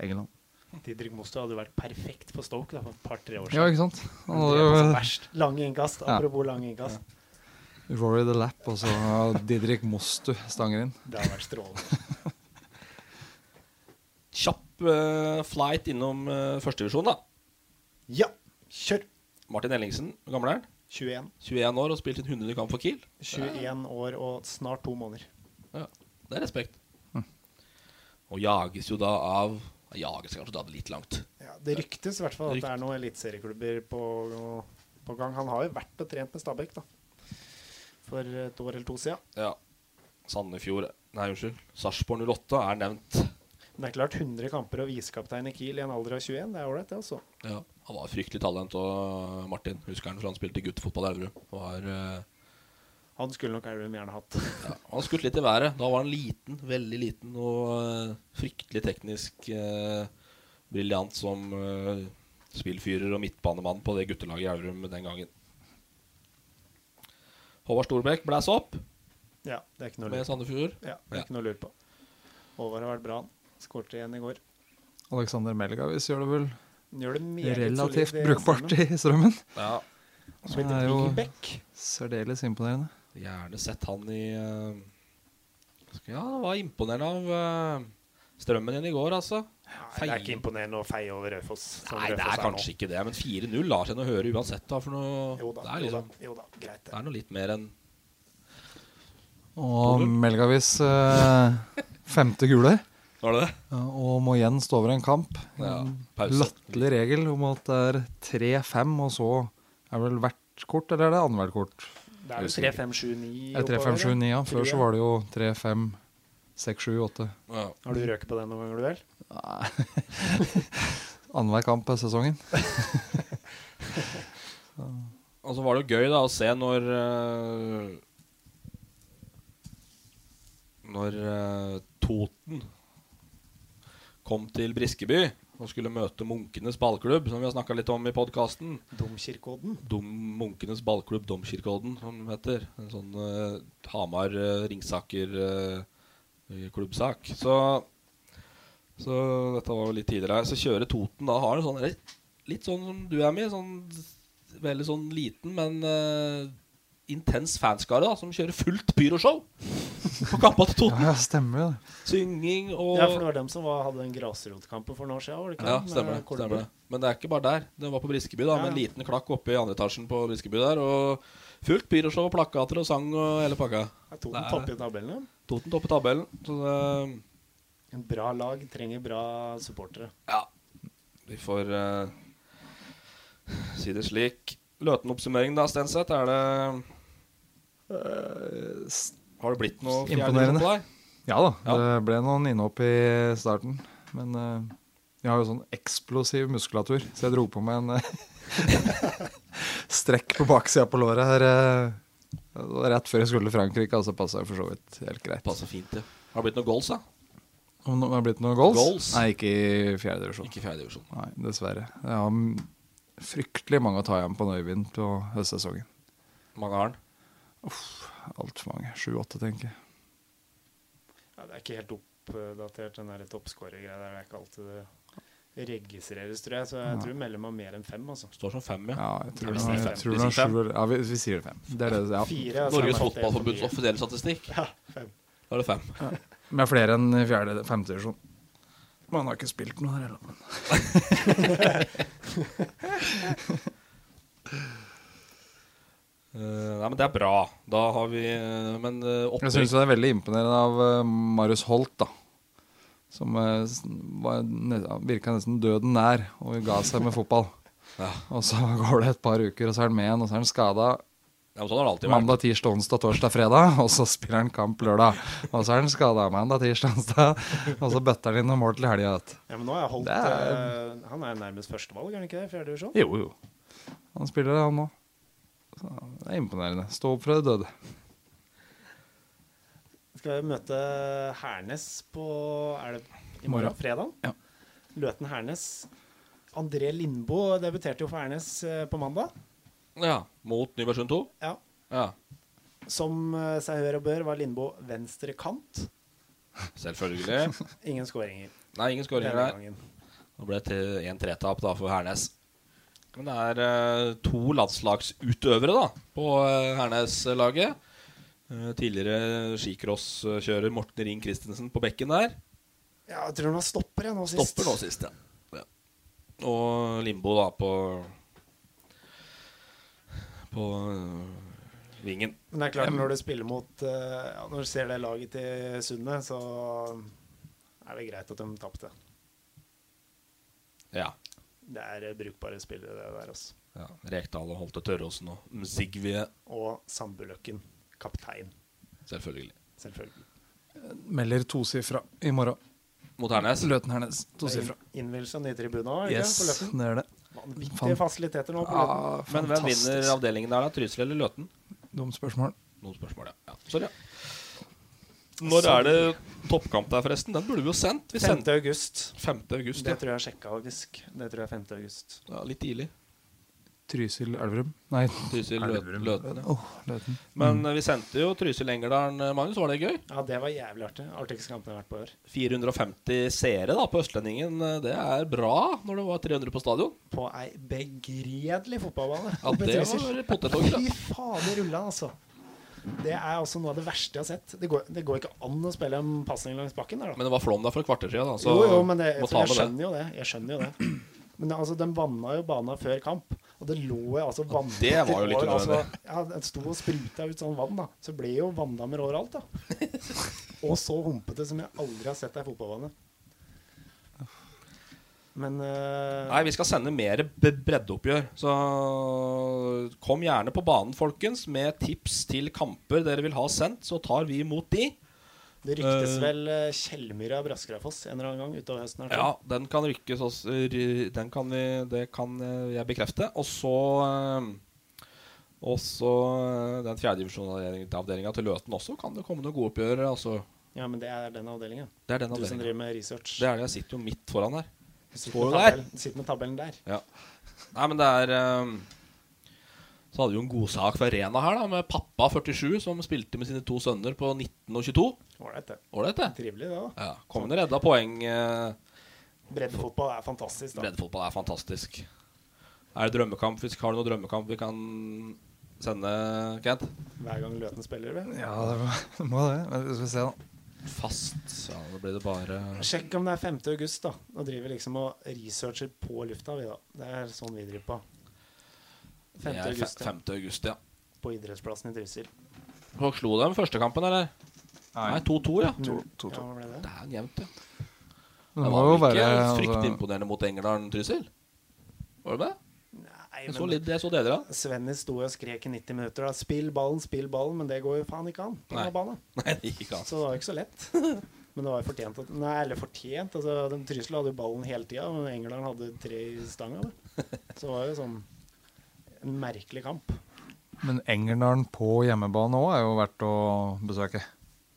Speaker 1: England.
Speaker 4: Didrik Mosto hadde jo vært perfekt på Stoke da, for et par-tre år siden.
Speaker 1: Ja, ikke sant? Han
Speaker 4: Han
Speaker 1: hadde
Speaker 4: drev altså
Speaker 1: jo-
Speaker 4: verst. Lange innkast.
Speaker 1: Ja.
Speaker 4: Apropos lange innkast.
Speaker 1: Rory the Lap og så Didrik Mostu stanger inn.
Speaker 4: Det har vært strålende.
Speaker 3: Kjapp eh, flight innom uh, førstedivisjon, da.
Speaker 4: Ja, kjør!
Speaker 3: Martin Ellingsen, hvor gammel er han?
Speaker 4: 21.
Speaker 3: 21 år og spilt sin 100. kamp for Kiel.
Speaker 4: 21 år og snart to måneder.
Speaker 3: Ja, det er respekt. Og jages jo da av Jages er kanskje da litt langt.
Speaker 4: Ja, det ryktes i hvert fall at det er noen eliteserieklubber på, på gang. Han har jo vært og trent med Stabæk da. for et år eller to siden.
Speaker 3: Ja. Sandefjord Nei, unnskyld. Sarpsborg 08 er nevnt.
Speaker 4: Men det er klart 100 kamper og visekaptein i Kiel i en alder av 21, det er ålreit, det altså.
Speaker 3: Ja. Han var fryktelig talent, og eh, Martin husker han for han spilte guttefotball i Elverum. Var, eh,
Speaker 4: Han skulle nok Elverum gjerne hatt.
Speaker 3: Han skutt litt i været. Da var han liten, veldig liten, og eh, fryktelig teknisk eh, briljant som eh, spillfyrer og midtbanemann på det guttelaget i Elverum den gangen. Håvard Storbekk blæs opp
Speaker 4: Ja, det er ikke noe
Speaker 3: med
Speaker 4: lurt.
Speaker 3: Sandefjord.
Speaker 4: Ja, det er ikke noe lurt på. Håvard har vært bra. han. Skårte igjen i går.
Speaker 1: Alexander Melgavis gjør det vel
Speaker 4: Han Gjør det meget
Speaker 1: relativt
Speaker 4: solid i
Speaker 1: brukbart
Speaker 4: strømmen.
Speaker 1: i strømmen.
Speaker 3: Ja.
Speaker 4: Han spilte
Speaker 1: Det er jo-
Speaker 4: wingback.
Speaker 1: Særdeles imponerende.
Speaker 3: Gjerne sett han i eh, skal- Ja, han var imponerende av eh, strømmen igjen i går, altså.
Speaker 4: Nei, det er ikke imponerende å feie over Raufoss. som
Speaker 3: Nei, det
Speaker 4: Raufoss
Speaker 3: er kanskje ikke det, men 4-0 lar seg nå høre uansett. Da, for noe,
Speaker 4: Jo da,
Speaker 3: det, er liksom,
Speaker 4: jo, da, jo da, greit
Speaker 3: det
Speaker 4: det.
Speaker 3: er noe litt mer enn
Speaker 1: Og Melgavis eh, femte gule.
Speaker 3: Var det det?
Speaker 1: ja, Og må igjen stå over en kamp.
Speaker 3: Ja,
Speaker 1: En
Speaker 3: pause.
Speaker 1: Mm. Latterlig regel om at det er 3-5, og så er vel hvert kort, eller er det annethvert kort?
Speaker 4: Det er jo 3-5-7-9.
Speaker 1: Er det 3-5-7-9, ja. Før så var det jo 3-5 Seks, sju, åtte.
Speaker 3: Ja.
Speaker 4: Har du røket på det noen ganger, du vel?
Speaker 1: Annenhver kamp er sesongen.
Speaker 3: Og så var det jo gøy da å se når eh, Når eh, Toten kom til Briskeby og skulle møte Munkenes ballklubb, som vi har snakka litt om i podkasten.
Speaker 4: Domkirkeodden.
Speaker 3: Dom, munkenes ballklubb Domkirkeodden, som den heter. En sånn eh, Hamar-Ringsaker-klubbsak. så, så dette var jo litt tidligere. her. Så kjører Toten da har en sånn litt- litt sånn som du er med, sånn veldig sånn liten, men eh, intens fanskare da, som kjører fullt pyroshow på kampa til Toten.
Speaker 1: Ja, stemmer jo det.
Speaker 3: Synging og
Speaker 4: Ja, for det var dem som var, hadde den grasrotkampen for noen år siden, var det ikke?
Speaker 3: ja,
Speaker 4: Med
Speaker 3: stemmer det,
Speaker 4: Kolbu.
Speaker 3: stemmer det. Men det er ikke bare der. Det var på Briskeby, da,
Speaker 4: Ja,
Speaker 3: med en
Speaker 4: ja.
Speaker 3: liten klakk oppe i andre etasjen på Briskeby der. Og fullt pyroshow og plakater og sang og hele pakka.
Speaker 4: Ja, Toten
Speaker 3: Det er-
Speaker 4: toppet i tabellen, ja.
Speaker 3: Toten topper tabellen. Så det,
Speaker 4: En bra lag trenger bra supportere.
Speaker 3: ja Vi får eh, si det slik. Løten-oppsummering, da, Stenseth. Er det Har det blitt noe fjerde
Speaker 1: Imponerende.
Speaker 3: divisjon på deg?
Speaker 1: Ja da, det ble noen innhopp i starten. Men eh, jeg har jo sånn eksplosiv muskulatur, så jeg dro på meg en eh, strekk på baksida på låret her. eh, rett før jeg skulle til Frankrike, altså passa for så vidt helt greit.
Speaker 3: Passer fint, det. Har det blitt noen goals, da?
Speaker 1: Om det har blitt noen goals?
Speaker 3: Goals?
Speaker 1: Nei, ikke i fjerde divisjon.
Speaker 3: Ikke i fjerde divisjon.
Speaker 1: Nei, dessverre. Jeg har m- fryktelig mange å ta igjen på Nøyvind på høstsesongen.
Speaker 3: Mange har den.
Speaker 1: Altfor mange. Sju-åtte, tenker jeg.
Speaker 4: Ja, det er ikke helt oppdatert, den der toppskårergreia der. Det er ikke alltid det registreres, tror jeg. Så jeg tror vi melder meg mer enn fem, altså.
Speaker 3: Står som fem, ja.
Speaker 1: Ja, jeg tror
Speaker 4: Vi
Speaker 1: det
Speaker 4: sier
Speaker 1: er-
Speaker 4: fem.
Speaker 1: jeg tror
Speaker 3: Vi
Speaker 1: det er
Speaker 3: sier fem.
Speaker 1: sju. eller- Ja, vi, vi sier fem. Det er det, ja.
Speaker 4: Fire. altså,
Speaker 3: Norges
Speaker 4: er det for
Speaker 3: Fotballforbunds
Speaker 4: mye.
Speaker 3: offisielle statistikk.
Speaker 4: Ja, fem.
Speaker 3: Da er det fem.
Speaker 1: Med flere enn i fjerde, femte divisjon. Man har ikke spilt noe der heller.
Speaker 3: Eh, nei, men det er bra. Da har vi eh, Men eh,
Speaker 1: Jeg
Speaker 3: opprykk
Speaker 1: syns det er veldig imponerende av eh, Marius Holt, da. Som eh, s- var ne- ja, virka nesten døden nær og ga seg med fotball.
Speaker 3: Ja.
Speaker 1: Og så går det et par uker, og så er han med igjen, og så er han skada
Speaker 3: ja, men Sånn har det alltid vært.
Speaker 1: mandag, tirsdag, onsdag, torsdag, fredag. Og så spiller han kamp lørdag. Og så er han skada mandag, tirsdag, onsdag. Og så bøtter han inn noen mål til helga. vet du.
Speaker 4: Ja, men nå har jeg holdt
Speaker 1: Det
Speaker 4: eh, Han er jo nærmest førstevalg, er han ikke det? Fjerde divisjon?
Speaker 1: Jo, jo. Han spiller, han òg. Det er imponerende. Stå opp fra de døde.
Speaker 4: Skal vi møte Hernes på Er det i morgen?
Speaker 1: Morgen.
Speaker 4: Fredag?
Speaker 1: Ja.
Speaker 4: Løten Hernes. André Lindboe debuterte jo for Hernes eh, på mandag.
Speaker 3: Ja, Mot Nybergsund 2.
Speaker 4: Ja.
Speaker 3: Ja,
Speaker 4: Som eh, seg hør og bør var Lindboe venstre kant.
Speaker 3: selvfølgelig.
Speaker 4: Ingen skåringer
Speaker 3: Nei, ingen skåringer
Speaker 4: denne
Speaker 3: der.
Speaker 4: gangen.
Speaker 3: Det ble til 1-3-tap da for Hernes. Men det er eh, to landslagsutøvere da på eh, Hernes-laget. Eh, tidligere skicrosskjører Morten Ring Christensen på bekken der.
Speaker 4: Ja, jeg tror han var stopper jeg nå sist.
Speaker 3: Stopper nå sist, ja. ja. Og Limbo da på På eh, vingen.
Speaker 4: Men det er klart, når du spiller mot eh, ja, Når du ser det laget til Sundet, så er det greit at de tapte.
Speaker 3: Ja.
Speaker 4: Det er eh, brukbare spillere, det der, altså.
Speaker 3: ja. Rekdal og Holte Tørråsen og Mzigvie,
Speaker 4: Og Sambuløkken, kaptein,
Speaker 3: selvfølgelig.
Speaker 4: selvfølgelig.
Speaker 1: Melder tosifra i morgen.
Speaker 3: Mot Hernes.
Speaker 1: Løten Hernes, tosifra.
Speaker 4: Innvielse av nye tribuner òg,
Speaker 1: Yes,
Speaker 4: på Løkken.
Speaker 1: det er det.
Speaker 4: Vanvittige
Speaker 1: Fan-
Speaker 4: fasiliteter nå på Løkken.
Speaker 1: Ja,
Speaker 3: Men hvem
Speaker 1: fantastisk.
Speaker 3: vinner avdelingen der, da? Trysil eller Løten?
Speaker 1: Dumt spørsmål.
Speaker 3: Noen spørsmål, ja. ja. Sorry. ja. Når er det toppkamp der, forresten? Den burde vi jo sendt. Vi
Speaker 4: 5.
Speaker 3: sendte
Speaker 4: august.
Speaker 3: 5. august.
Speaker 4: Det
Speaker 3: Ja.
Speaker 4: tror jeg jeg sjekka, faktisk. Det tror jeg er 5. august.
Speaker 3: Ja, litt tidlig.
Speaker 1: Trysil Elverum? Nei,
Speaker 3: Trysil, Lø- Løten. Ja.
Speaker 1: Åh, Løten.
Speaker 3: Men eh, vi sendte jo Trysil-Engerdalen, eh, Magnus. Var det gøy?
Speaker 4: Ja, det var jævlig artig. Artigste kampen jeg har vært på i år.
Speaker 3: 450 seere da på Østlendingen, Eh, det er bra når det var 300 på stadion.
Speaker 4: På ei begredelig fotballbane.
Speaker 3: Ja,
Speaker 4: oppe i
Speaker 3: det
Speaker 4: Trysil.
Speaker 3: var potetåker, da.
Speaker 4: Fy fader rulla, altså. Det er altså noe av det verste jeg har sett. Det går, det går ikke an å spille en pasning langs bakken der, da.
Speaker 3: Men det var flom der for et kvarter siden, da, så
Speaker 4: jo, jo, men det,
Speaker 3: må ta
Speaker 4: for jeg
Speaker 3: med det.
Speaker 4: skjønner jo det. Jeg skjønner jo det. Men det- altså, de vanna jo bana før kamp, og det lå jo altså
Speaker 3: det
Speaker 4: vannpytter
Speaker 3: var jo litt
Speaker 4: over, altså,
Speaker 3: unødvendig.
Speaker 4: ja, Det sto og spruta ut sånn vann, da. Så ble jo vanndammer overalt, da. Og så humpete som jeg aldri har sett ei fotballbane. Men eh,
Speaker 3: Nei, vi skal sende mer b- breddeoppgjør. Så kom gjerne på banen, folkens, med tips til kamper dere vil ha sendt, så tar vi imot de.
Speaker 4: Det ryktes
Speaker 3: Eh,
Speaker 4: vel eh, Kjellmyra Braskerafoss en eller annen gang utover høsten. her, tror jeg.
Speaker 3: Ja, den kan rykkes også, ry- den kan vi, Det kan eh, jeg bekrefte. Og så eh, Og så eh, den fjerdedivisjonsavdelinga til Løten også kan det komme noen gode oppgjør. Altså.
Speaker 4: Ja, men det er den avdelinga.
Speaker 3: Det er den
Speaker 4: Du som
Speaker 3: avdelingen.
Speaker 4: driver med research.
Speaker 3: Det er det. Jeg sitter jo midt foran her.
Speaker 4: Sitt
Speaker 3: Står
Speaker 4: med,
Speaker 3: jo der.
Speaker 4: tabellen, sitt med tabellen der.
Speaker 3: Ja. Nei, men det er ehm, Så hadde vi jo en god sak fra Rena her, da, med pappa 47, som spilte med sine to sønner på 19 og 22.
Speaker 4: Ålreit, det.
Speaker 3: Ålreit, det.
Speaker 4: Trivelig, det òg.
Speaker 3: Ja, Kom inn og redda poeng. eh,
Speaker 4: Breddefotball er fantastisk, da.
Speaker 3: Breddefotball er fantastisk. Er det drømmekamp? Hvis har du noen drømmekamp vi kan sende, Kent?
Speaker 4: Hver gang Løten spiller. Vel?
Speaker 1: Ja, det må- må det. Men Skal vi se, da.
Speaker 3: Fast. Ja, da blir det bare
Speaker 4: Sjekk om det er 5. august, da. Nå driver vi liksom og researcher på lufta, vi, da. Det er sånn vi driver på. 5.
Speaker 3: Det er fe-
Speaker 4: august, ja.
Speaker 3: 5. august, ja.
Speaker 4: På idrettsplassen i Trysil.
Speaker 3: Hva slo dem første kampen, eller? Nei, 2-2, ja.
Speaker 4: Null.
Speaker 1: to-
Speaker 4: Ja, hva ble det?
Speaker 3: Det er jevnt, ja.
Speaker 1: Det
Speaker 3: Det
Speaker 1: må
Speaker 3: var
Speaker 1: jo
Speaker 3: vel ikke
Speaker 1: være,
Speaker 3: fryktelig
Speaker 1: altså-
Speaker 3: imponerende mot Engerdalen Trysil? Var det det?
Speaker 4: Nei,
Speaker 3: Jeg så,
Speaker 4: men
Speaker 3: litt, jeg så deler av.
Speaker 4: Svenny sto og skrek i 90 minutter da. 'Spill ballen, spill ballen', men det går jo faen ikke an. på
Speaker 3: Nei.
Speaker 4: denne banen.
Speaker 3: Nei, det gikk ikke an.
Speaker 4: Så det var jo ikke så lett. Men det var jo fortjent. At, nei, eller fortjent. Altså, de Trysil hadde jo ballen hele tida, men England hadde tre i stanga. da. Så det var jo sånn en merkelig kamp.
Speaker 1: Men Engerdalen på hjemmebane òg er jo verdt å besøke.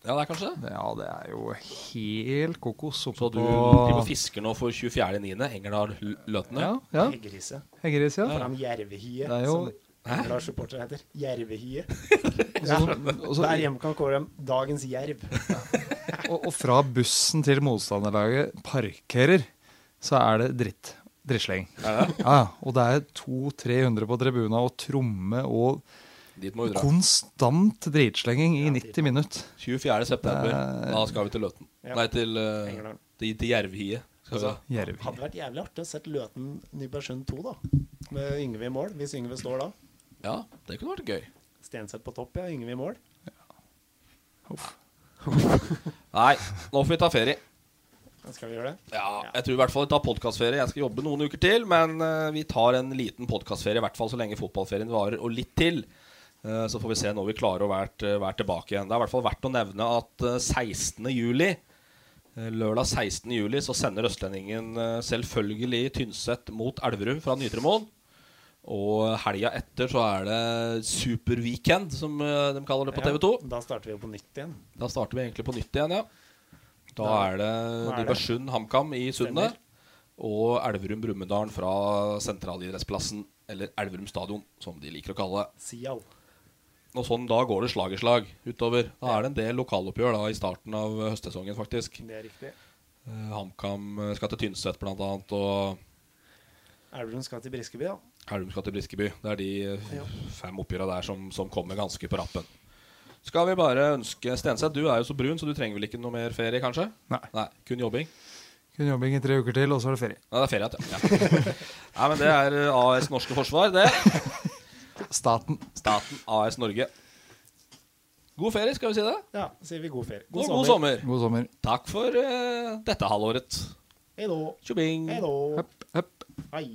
Speaker 3: Ja, det er kanskje det.
Speaker 1: Det- Ja, det er jo helt kokos oppe
Speaker 3: Så du driver og
Speaker 1: på
Speaker 3: fisker nå for 24.9. Engerdal-Løtene?
Speaker 1: Ja, ja.
Speaker 4: Heggerise.
Speaker 1: Heggeris, ja.
Speaker 4: Fram Jervehie,
Speaker 1: Det er jo-
Speaker 4: som Englands supportere heter. Jervehie.
Speaker 1: Og, så,
Speaker 4: Der hjemme kan kåre dem dagens jerv.
Speaker 1: og, og fra bussen til motstanderlaget parkerer, så er det dritt. Drittsleng. Ja, ja. Og det er 200-300 på tribunen og tromme og
Speaker 3: Dit må vi dra.
Speaker 1: konstant dritslenging i 90 minutter.
Speaker 3: 24. september. Da skal vi til Løten.
Speaker 4: Ja.
Speaker 3: Nei, til, eh,
Speaker 4: Engerdal. Altså.
Speaker 3: til, til Jervhiet. Skal vi da.
Speaker 1: Jerv.
Speaker 4: Hadde vært jævlig artig å sett Løten Nybergsund 2, da. Med Yngve i mål, hvis Yngve står da.
Speaker 3: Ja, det kunne vært gøy.
Speaker 4: Stenseth på topp, ja. Yngve i mål.
Speaker 3: Nei, nå får vi ta ferie.
Speaker 4: Da skal vi gjøre det.
Speaker 3: Ja, jeg tror i hvert fall vi tar podkastferie. Jeg skal jobbe noen uker til, men eh, vi tar en liten podkastferie, i hvert fall så lenge fotballferien varer, og litt til. Eh, så får vi se når vi klarer å være, være tilbake igjen. Det er i hvert fall verdt å nevne at eh, 16. juli eh, Lørdag 16. juli så sender Østlendingen eh, selvfølgelig Tynset mot Elverum fra Nytremoen. Og helga etter så er det Superweekend, som eh, de kaller det på TV 2.
Speaker 4: Da starter vi jo på nytt igjen.
Speaker 3: Da starter vi egentlig på nytt igjen, ja. Da
Speaker 4: Da-
Speaker 3: er det
Speaker 4: Hva er det?
Speaker 3: Nybergsund HamKam i Sundet.
Speaker 4: Stemmer.
Speaker 3: Og Elverum Brumunddal fra Sentralidrettsplassen, eller Elverum Stadion, som de liker å kalle det.
Speaker 4: Sial.
Speaker 3: Og sånn da går det slag i slag utover. Da er det en del lokaloppgjør da i starten av eh, høstsesongen, faktisk.
Speaker 4: Det er riktig.
Speaker 3: Eh, HamKam eh, skal til Tynset, blant annet, og
Speaker 4: Elverum skal til Briskeby, da.
Speaker 3: Elverum skal til Briskeby. Det er de eh, fem oppgjørene der som, som kommer ganske på rappen. Skal vi bare ønske Stenseth, du er jo så brun, så du trenger vel ikke noe mer ferie, kanskje?
Speaker 1: Nei.
Speaker 3: Nei kun jobbing?
Speaker 1: Kun jobbing i tre uker til, og så er det ferie.
Speaker 3: Nei, det er ferie igjen, ja. ja. Nei, men det er eh, AS Norske Forsvar, det.
Speaker 1: Staten.
Speaker 3: Staten AS Norge. God ferie, skal vi si det.
Speaker 4: Ja, sier vi god ferie.
Speaker 3: Og god sommer.
Speaker 1: God sommer.
Speaker 3: Takk for eh, dette halvåret.
Speaker 4: Hei då.
Speaker 3: Tjobing.
Speaker 4: Hei då.
Speaker 1: Høpp, høpp.
Speaker 4: Hei.